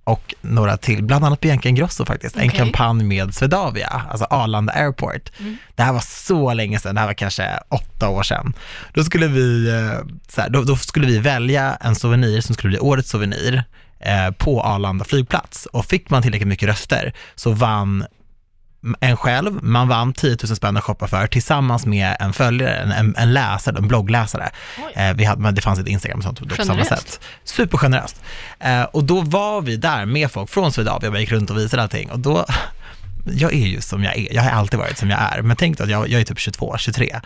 [SPEAKER 1] och några till, bland annat Bianca Ingrosso faktiskt, en
[SPEAKER 2] Okej.
[SPEAKER 1] kampanj med Swedavia, alltså Arlanda Airport. Det här var så länge sedan, det här var kanske åtta år sedan. Då skulle vi, eh, så här, då, då skulle vi välja en souvenir som skulle bli årets souvenir eh, på Arlanda flygplats. Och fick man tillräckligt mycket röster så vann en själv, man vann 10 000 spänn att shoppa för tillsammans med en följare, en, en, en läsare, en bloggläsare.
[SPEAKER 2] Oj.
[SPEAKER 1] Eh, vi hade, men det fanns ett Instagram och sånt då på samma
[SPEAKER 2] Generöst.
[SPEAKER 1] sätt. Supergeneröst. Eh, och då var vi där med folk från Swedavia, jag bara gick runt och visade allting och då jag är ju som jag är, jag har alltid varit som jag är, men tänk dig att jag, jag är typ 22, 23.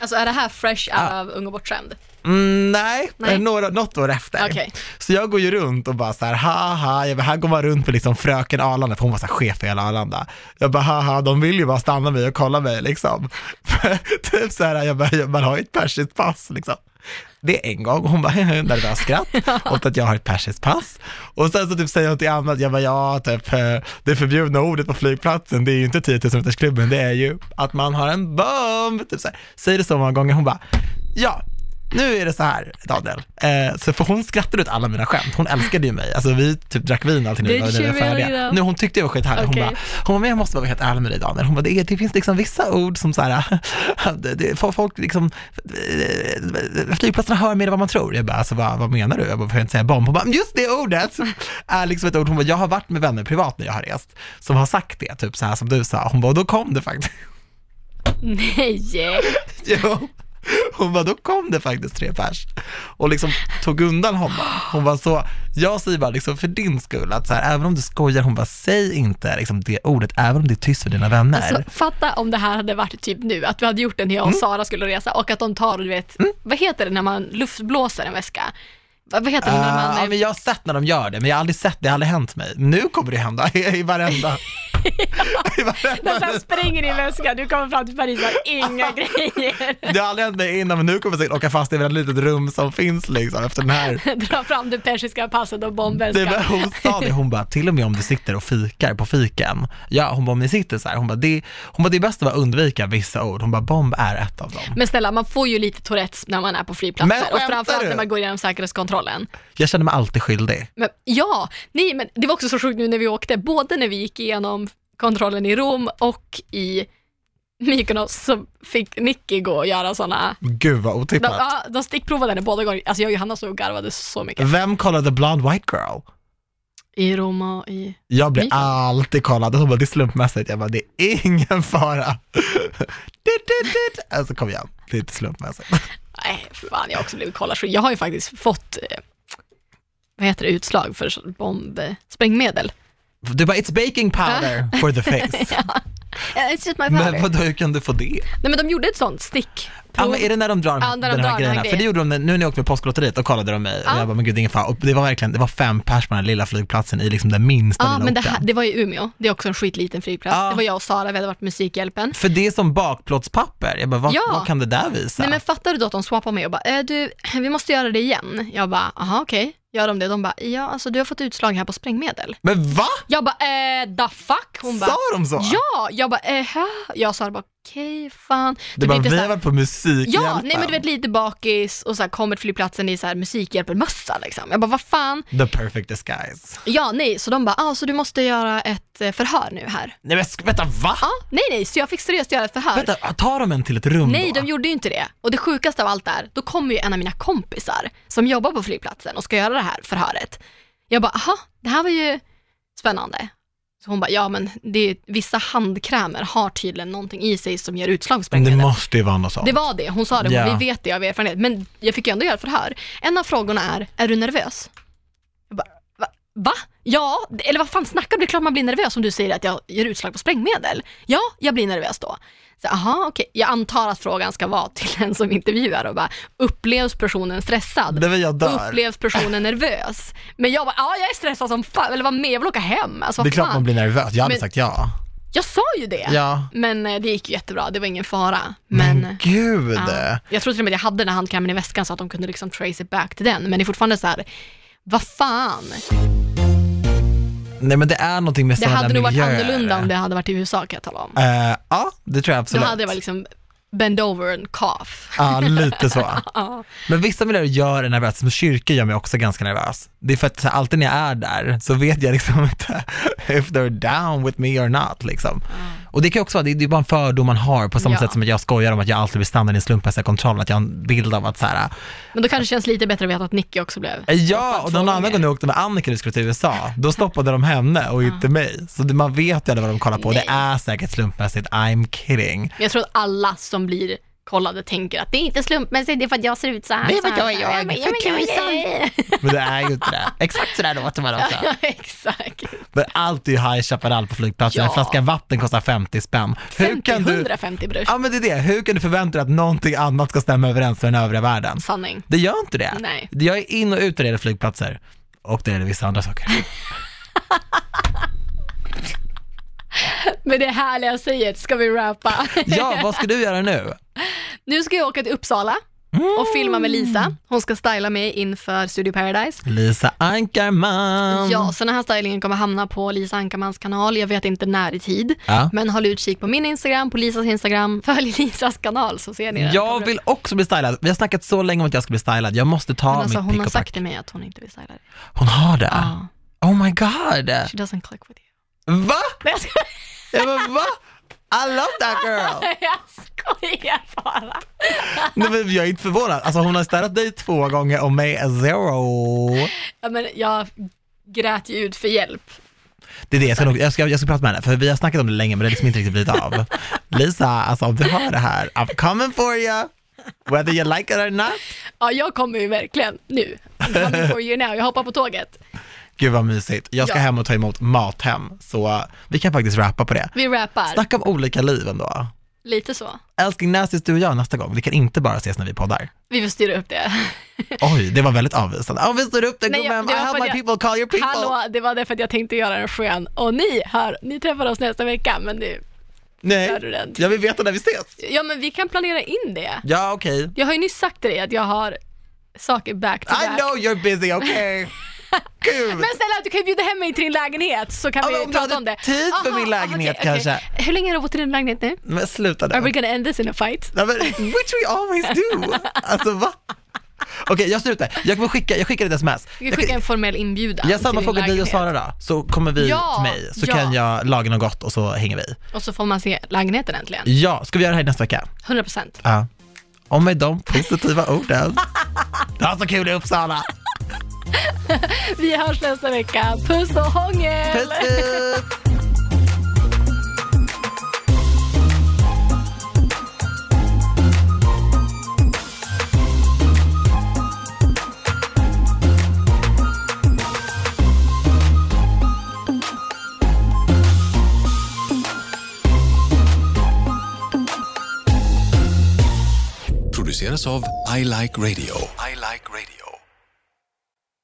[SPEAKER 2] Alltså är det här fresh out of Ung och bortskämd?
[SPEAKER 1] Mm, nej,
[SPEAKER 2] Nej.
[SPEAKER 1] eh, Några, något år efter.
[SPEAKER 2] Okej.
[SPEAKER 1] Så jag går ju runt och bara så här, haha, jag bara, här går man runt med liksom fröken Arlanda, för hon var så här chef för hela Arlanda. Jag bara, haha, de vill ju bara stanna mig och kolla mig liksom. typ så här, jag bara, man har ju ett persiskt pass liksom. Det är en gång, hon bara, nervös skratt åt att jag har ett persiskt pass. Och sen så typ säger hon till annat, jag bara, ja, typ, eh, det förbjudna ordet på flygplatsen, det är ju inte 10 000 metersklubben, det är ju att man har en bomb. Typ så här. Säger det så många gånger, hon bara, ja, nu är det så här, Daniel. Eh, så för hon skrattade ut alla mina skämt. Hon älskade ju mig. Alltså vi typ drack vin alltid när vi
[SPEAKER 2] Did
[SPEAKER 1] var när vi var
[SPEAKER 2] she really
[SPEAKER 1] färdiga.
[SPEAKER 2] though?
[SPEAKER 1] Nu, hon tyckte jag var skithärlig.
[SPEAKER 2] Okej.
[SPEAKER 1] Hon bara, hon bara, men jag måste vara helt ärlig med dig Daniel. Hon bara, det, är, det finns liksom vissa ord som så här, det, det, får folk liksom, eh, flygplatserna hör mer än vad man tror. Jag bara, alltså vad, vad menar du? Jag bara, får jag inte säga bomb? Hon bara, just det ordet är liksom ett ord. Hon bara, jag har varit med vänner privat när jag har rest som har sagt det, typ så här som du sa. Hon bara, och då kom det faktiskt.
[SPEAKER 2] Nej!
[SPEAKER 1] Jo. Hon bara, då kom det faktiskt tre pers och liksom tog undan honom. Hon var så, jag säger bara liksom för din skull att så här, även om du skojar, hon bara säg inte liksom det ordet, även om det är tyst för dina vänner.
[SPEAKER 2] Alltså, fatta om det här hade varit typ nu, att vi hade
[SPEAKER 1] Mm.
[SPEAKER 2] gjort det när jag och Sara skulle resa och att de tar, du vet, vad heter det när man luftblåser en väska? Vad vad heter det när
[SPEAKER 1] Ah,
[SPEAKER 2] man...
[SPEAKER 1] ja,
[SPEAKER 2] är-
[SPEAKER 1] men jag har sett när de gör det, men jag har aldrig sett det, det har aldrig hänt mig. Nu kommer det hända i varenda... I
[SPEAKER 3] Den
[SPEAKER 1] varenda
[SPEAKER 3] sen springer i väskan, du kommer fram till Paris och har inga grejer.
[SPEAKER 1] det har aldrig hänt mig innan, men nu kommer jag säkert åka fast i ett litet rum som finns liksom efter den här.
[SPEAKER 3] Dra fram det persiska passet och
[SPEAKER 1] Det var,
[SPEAKER 3] bombväskan.
[SPEAKER 1] hon sa det, hon bara, till och med om du sitter och fikar på fiken, ja, hon bara, om ni sitter så här, hon bara, det, hon bara, det är bäst att bara undvika vissa ord, hon bara, bomb är ett av dem.
[SPEAKER 2] Men snälla, man får ju lite Tourettes när man är på flygplatser.
[SPEAKER 1] Men
[SPEAKER 2] Och
[SPEAKER 1] skämtar
[SPEAKER 2] framförallt
[SPEAKER 1] du?
[SPEAKER 2] när man går igenom säkerhetskontrollen.
[SPEAKER 1] Jag känner mig alltid skyldig.
[SPEAKER 2] Men, ja, nej men det var också så sjukt nu när vi åkte, både när vi gick igenom kontrollen i Rom och i Mykonos så fick Nicky gå och göra sådana,
[SPEAKER 1] Gud vad
[SPEAKER 2] de,
[SPEAKER 1] otippat.
[SPEAKER 2] ja, de stickprovade henne båda gångerna, alltså jag och Johanna stod och garvade så mycket.
[SPEAKER 1] Vem kollade Blonde White Girl?
[SPEAKER 2] I Rom och i...
[SPEAKER 1] Jag blir
[SPEAKER 2] Mikael.
[SPEAKER 1] alltid kollad, hon bara, det är slumpmässigt. Jag bara, det är ingen fara. dit, dit, dit. Alltså kom igen, det är inte slumpmässigt.
[SPEAKER 2] Nej, fan jag har också blivit kollad. Jag har ju faktiskt fått, eh, vad heter det, utslag för så- bomb, eh, sprängmedel.
[SPEAKER 1] Du bara, it's baking powder for the face.
[SPEAKER 2] Eh, It's just my powder.
[SPEAKER 1] Men vadå, hur kan du få det?
[SPEAKER 2] Nej men de gjorde ett sånt stick.
[SPEAKER 1] Ja, men är det när de drar
[SPEAKER 2] Ja, när de
[SPEAKER 1] den här
[SPEAKER 2] drar
[SPEAKER 1] grejerna? För det gjorde de när- nu när jag åkte med Påsklotteriet, då kollade de mig
[SPEAKER 2] Ja.
[SPEAKER 1] och jag bara, men gud det är ingen fara. Och det var verkligen, det var fem pers på den här lilla flygplatsen i liksom den minsta
[SPEAKER 2] Ja,
[SPEAKER 1] lilla
[SPEAKER 2] men det,
[SPEAKER 1] orten.
[SPEAKER 2] här, det var i Umeå. Det är också en skitliten flygplats.
[SPEAKER 1] Ja.
[SPEAKER 2] Det var jag och Sara, vi hade varit Musikhjälpen.
[SPEAKER 1] För det är som bakplåtspapper, jag bara, vad,
[SPEAKER 2] Ja.
[SPEAKER 1] vad kan det där visa?
[SPEAKER 2] Nej men fattar du då att de swappar mig och bara, eh, du, vi måste göra det igen. Jag bara, aha okej, gör de det? De bara, ja alltså du har fått utslag här på sprängmedel.
[SPEAKER 1] Men va?
[SPEAKER 2] Jag bara, eh, da fuck? Hon bara,
[SPEAKER 1] Sa de så?
[SPEAKER 2] ja! Jag bara, eh, hä? Jag sa bara, okej fan.
[SPEAKER 1] Det
[SPEAKER 2] blir
[SPEAKER 1] bara, vi
[SPEAKER 2] lite så
[SPEAKER 1] har
[SPEAKER 2] här-
[SPEAKER 1] varit på musikhjälpen.
[SPEAKER 2] Ja, nej men du vet lite bakis och så här, kommer till flygplatsen i så här Musikhjälpen-mössa liksom. Jag bara, vad fan?
[SPEAKER 1] The perfect disguise.
[SPEAKER 2] Ja, nej, så de bara, ah, så du måste göra ett eh, förhör nu här.
[SPEAKER 1] Nej men sk- vänta, va?
[SPEAKER 2] Ja, nej nej, så jag fick seriöst göra ett förhör.
[SPEAKER 1] Vänta, tar de en till ett rum
[SPEAKER 2] Nej,
[SPEAKER 1] då?
[SPEAKER 2] de gjorde ju inte det. Och det sjukaste av allt är, då kommer ju en av mina kompisar som jobbar på flygplatsen och ska göra det här förhöret. Jag bara, aha, det här var ju spännande. Så hon bara, ja men det är, vissa handkrämer har tydligen någonting i sig som ger utslag på
[SPEAKER 1] Men det
[SPEAKER 2] sprängmedel."
[SPEAKER 1] måste ju vara något sånt.
[SPEAKER 2] Det var det, hon sa det, hon,
[SPEAKER 1] Ja.
[SPEAKER 2] vi vet det av erfarenhet. Men jag fick ju ändå göra ett förhör. En av frågorna är, är du nervös? Jag bara, va? va? Ja, eller vad fan snackar du? Det är klart man blir nervös om du säger att jag ger utslag på sprängmedel. Ja, jag blir nervös då. Så, aha, okej. Jag antar att frågan ska vara till den som intervjuar och bara, upplevs personen stressad?
[SPEAKER 1] Nej men jag dör.
[SPEAKER 2] Upplevs personen nervös? Men jag bara, ja jag är stressad som fan, eller vad med, jag vill åka hem. Alltså,
[SPEAKER 1] det är
[SPEAKER 2] vad
[SPEAKER 1] klart
[SPEAKER 2] fan?
[SPEAKER 1] man blir nervös, jag hade
[SPEAKER 2] Men-
[SPEAKER 1] sagt ja.
[SPEAKER 2] Jag sa ju det,
[SPEAKER 1] Ja.
[SPEAKER 2] men eh, det gick ju jättebra, det var ingen fara.
[SPEAKER 1] Men,
[SPEAKER 2] men eh,
[SPEAKER 1] gud.
[SPEAKER 2] Mm. Ja. Jag tror till och med att jag hade den här handkrämen i väskan så att de kunde liksom trace it back till den. Men det är fortfarande så här, vad fan.
[SPEAKER 1] Nej men det är någonting med
[SPEAKER 2] Det
[SPEAKER 1] sådana
[SPEAKER 2] hade nog varit
[SPEAKER 1] miljöer.
[SPEAKER 2] annorlunda om det hade varit i USA kan jag tala om.
[SPEAKER 1] Eh, ja, det tror jag
[SPEAKER 2] Då
[SPEAKER 1] absolut.
[SPEAKER 2] hade det varit liksom bend over and cough.
[SPEAKER 1] Ja, lite så.
[SPEAKER 2] Ja.
[SPEAKER 1] Men vissa miljöer gör en nervös, som kyrkor gör mig också ganska nervös. Det är för att så här, alltid när jag är där så vet jag liksom inte if they're down with me or not liksom. Och det kan ju också vara, det det är bara en fördom man har på samma
[SPEAKER 2] Ja.
[SPEAKER 1] sätt som att jag skojar om att jag alltid blir stannad i den slumpmässiga kontrollen, att jag har en bild av att så här, eh,
[SPEAKER 2] Men då kanske det känns lite bättre att veta att Nicky också blev.
[SPEAKER 1] Ja, och
[SPEAKER 2] två
[SPEAKER 1] någon annan
[SPEAKER 2] gånger.
[SPEAKER 1] gång när jag åkte med Annika när vi skulle till USA, då stoppade de henne och inte mig. Så det, man vet ju aldrig vad de kollar på.
[SPEAKER 2] Nej.
[SPEAKER 1] Det är säkert slumpmässigt, I'm kidding.
[SPEAKER 2] Jag tror att alla som blir kollade tänker att det är inte slumpmässigt, det är för att jag ser ut så här.
[SPEAKER 1] Det är för
[SPEAKER 2] så
[SPEAKER 1] att jag
[SPEAKER 2] här,
[SPEAKER 1] är jag,
[SPEAKER 2] så här.
[SPEAKER 1] för att jag är Men det är ju inte det. Exakt sådär låter man också.
[SPEAKER 2] Ja, Exakt.
[SPEAKER 1] Men allt är ju High Chaparral på flygplatsen. En
[SPEAKER 2] Ja.
[SPEAKER 1] flaska vatten kostar 50 spänn. Hur
[SPEAKER 2] 50,
[SPEAKER 1] kan du,
[SPEAKER 2] 150 brus.
[SPEAKER 1] ja men det är det, hur kan du förvänta dig att någonting annat ska stämma överens med den övriga världen?
[SPEAKER 2] Sanning.
[SPEAKER 1] Det gör inte det.
[SPEAKER 2] Nej.
[SPEAKER 1] Jag är in och ut när det gäller flygplatser. Och det gäller vissa andra saker.
[SPEAKER 2] Men det härliga säget ska vi rappa.
[SPEAKER 1] Ja, vad ska du göra nu?
[SPEAKER 2] Nu ska jag åka till Uppsala och filma med
[SPEAKER 1] Mm.
[SPEAKER 2] Lisa. Hon ska styla mig inför Studio Paradise.
[SPEAKER 1] Lisa Ankarman.
[SPEAKER 2] Ja, så den här stylingen kommer hamna på Lisa Ankarmans kanal. Jag vet inte när i tid.
[SPEAKER 1] Ja.
[SPEAKER 2] Men håll utkik på min Instagram, på Lisas Instagram. Följ Lisas kanal så ser ni den.
[SPEAKER 1] Jag vill också bli stylad. Vi har snackat så länge om att jag ska bli stylad. Jag måste ta
[SPEAKER 2] Men alltså,
[SPEAKER 1] mitt
[SPEAKER 2] hon
[SPEAKER 1] pick
[SPEAKER 2] har
[SPEAKER 1] och pack.
[SPEAKER 2] sagt till mig att hon inte vill styla dig.
[SPEAKER 1] Hon har det?
[SPEAKER 2] Ja.
[SPEAKER 1] Oh my god!
[SPEAKER 2] She doesn't click with you.
[SPEAKER 1] Va?
[SPEAKER 2] Nej, jag skojar.
[SPEAKER 1] Jag bara, va? I love that girl!
[SPEAKER 2] Jag skojar bara.
[SPEAKER 1] Nej, men jag är inte förvånad. Alltså hon har städat dig två gånger och mig är zero.
[SPEAKER 2] Ja, men jag grät ju ut för hjälp.
[SPEAKER 1] Det är det, jag ska, nog, jag, ska, jag ska prata med henne, för vi har snackat om det länge men det har liksom inte riktigt blivit av. Lisa, alltså om du hör det här, I'm coming for you! Whether you like it or not.
[SPEAKER 2] Ja, jag kommer ju verkligen nu. I'm coming for you now. Jag hoppar på tåget.
[SPEAKER 1] Gud vad mysigt. Jag ska
[SPEAKER 2] Ja.
[SPEAKER 1] hem och ta emot mat hem, så uh, vi kan faktiskt rappa på det.
[SPEAKER 2] Vi rappar.
[SPEAKER 1] Snacka om olika liv ändå.
[SPEAKER 2] Lite så.
[SPEAKER 1] Älskling, när ses du och jag nästa gång? Vi kan inte bara ses när vi poddar.
[SPEAKER 2] Vi får styra upp det.
[SPEAKER 1] Oj, det var väldigt avvisande. Ja, vi står upp det
[SPEAKER 2] Nej, jag-
[SPEAKER 1] gumman. I
[SPEAKER 2] det var för
[SPEAKER 1] have my
[SPEAKER 2] att jag-
[SPEAKER 1] people, call your people.
[SPEAKER 2] Hallå, det var därför att jag tänkte göra en skön. Och ni hör, ni träffar oss nästa vecka, men nu
[SPEAKER 1] Nej,
[SPEAKER 2] är du rädd.
[SPEAKER 1] jag vill veta när vi ses.
[SPEAKER 2] Ja, men vi kan planera in det.
[SPEAKER 1] Ja, okej.
[SPEAKER 2] Jag har ju nyss sagt till dig att jag har saker back to
[SPEAKER 1] I
[SPEAKER 2] back.
[SPEAKER 1] know you're busy, okej? Gud.
[SPEAKER 2] Men snälla, du kan ju bjuda hem mig till din lägenhet så kan
[SPEAKER 1] Ja, men
[SPEAKER 2] vi
[SPEAKER 1] om du
[SPEAKER 2] prata
[SPEAKER 1] hade
[SPEAKER 2] om det.
[SPEAKER 1] tid för min lägenhet
[SPEAKER 2] okej, okej.
[SPEAKER 1] kanske.
[SPEAKER 2] Hur länge har du bott i din lägenhet nu?
[SPEAKER 1] Men sluta
[SPEAKER 2] Are we
[SPEAKER 1] nu.
[SPEAKER 2] gonna end this in a fight?
[SPEAKER 1] Nej, men, Which we always do. Alltså va? Okej, jag slutar. Jag kommer skicka, jag skickar ett sms.
[SPEAKER 2] Du
[SPEAKER 1] Jag
[SPEAKER 2] kan skicka
[SPEAKER 1] kan-
[SPEAKER 2] en formell inbjudan
[SPEAKER 1] jag sammanfrågar
[SPEAKER 2] till din
[SPEAKER 1] dig och
[SPEAKER 2] lägenhet.
[SPEAKER 1] Sara då, så kommer vi
[SPEAKER 2] Ja,
[SPEAKER 1] till mig, så
[SPEAKER 2] ja.
[SPEAKER 1] kan jag laga något gott och så hänger vi.
[SPEAKER 2] Och så får man se lägenheten äntligen.
[SPEAKER 1] Ja, ska vi göra det här nästa vecka?
[SPEAKER 2] 100 procent.
[SPEAKER 1] Ja. Och med de positiva orden. Det var så kul i Uppsala.
[SPEAKER 2] Vi hörs nästa vecka. Puss och hångel!
[SPEAKER 1] Puss puss.
[SPEAKER 4] produceras av I Like Radio. I like radio.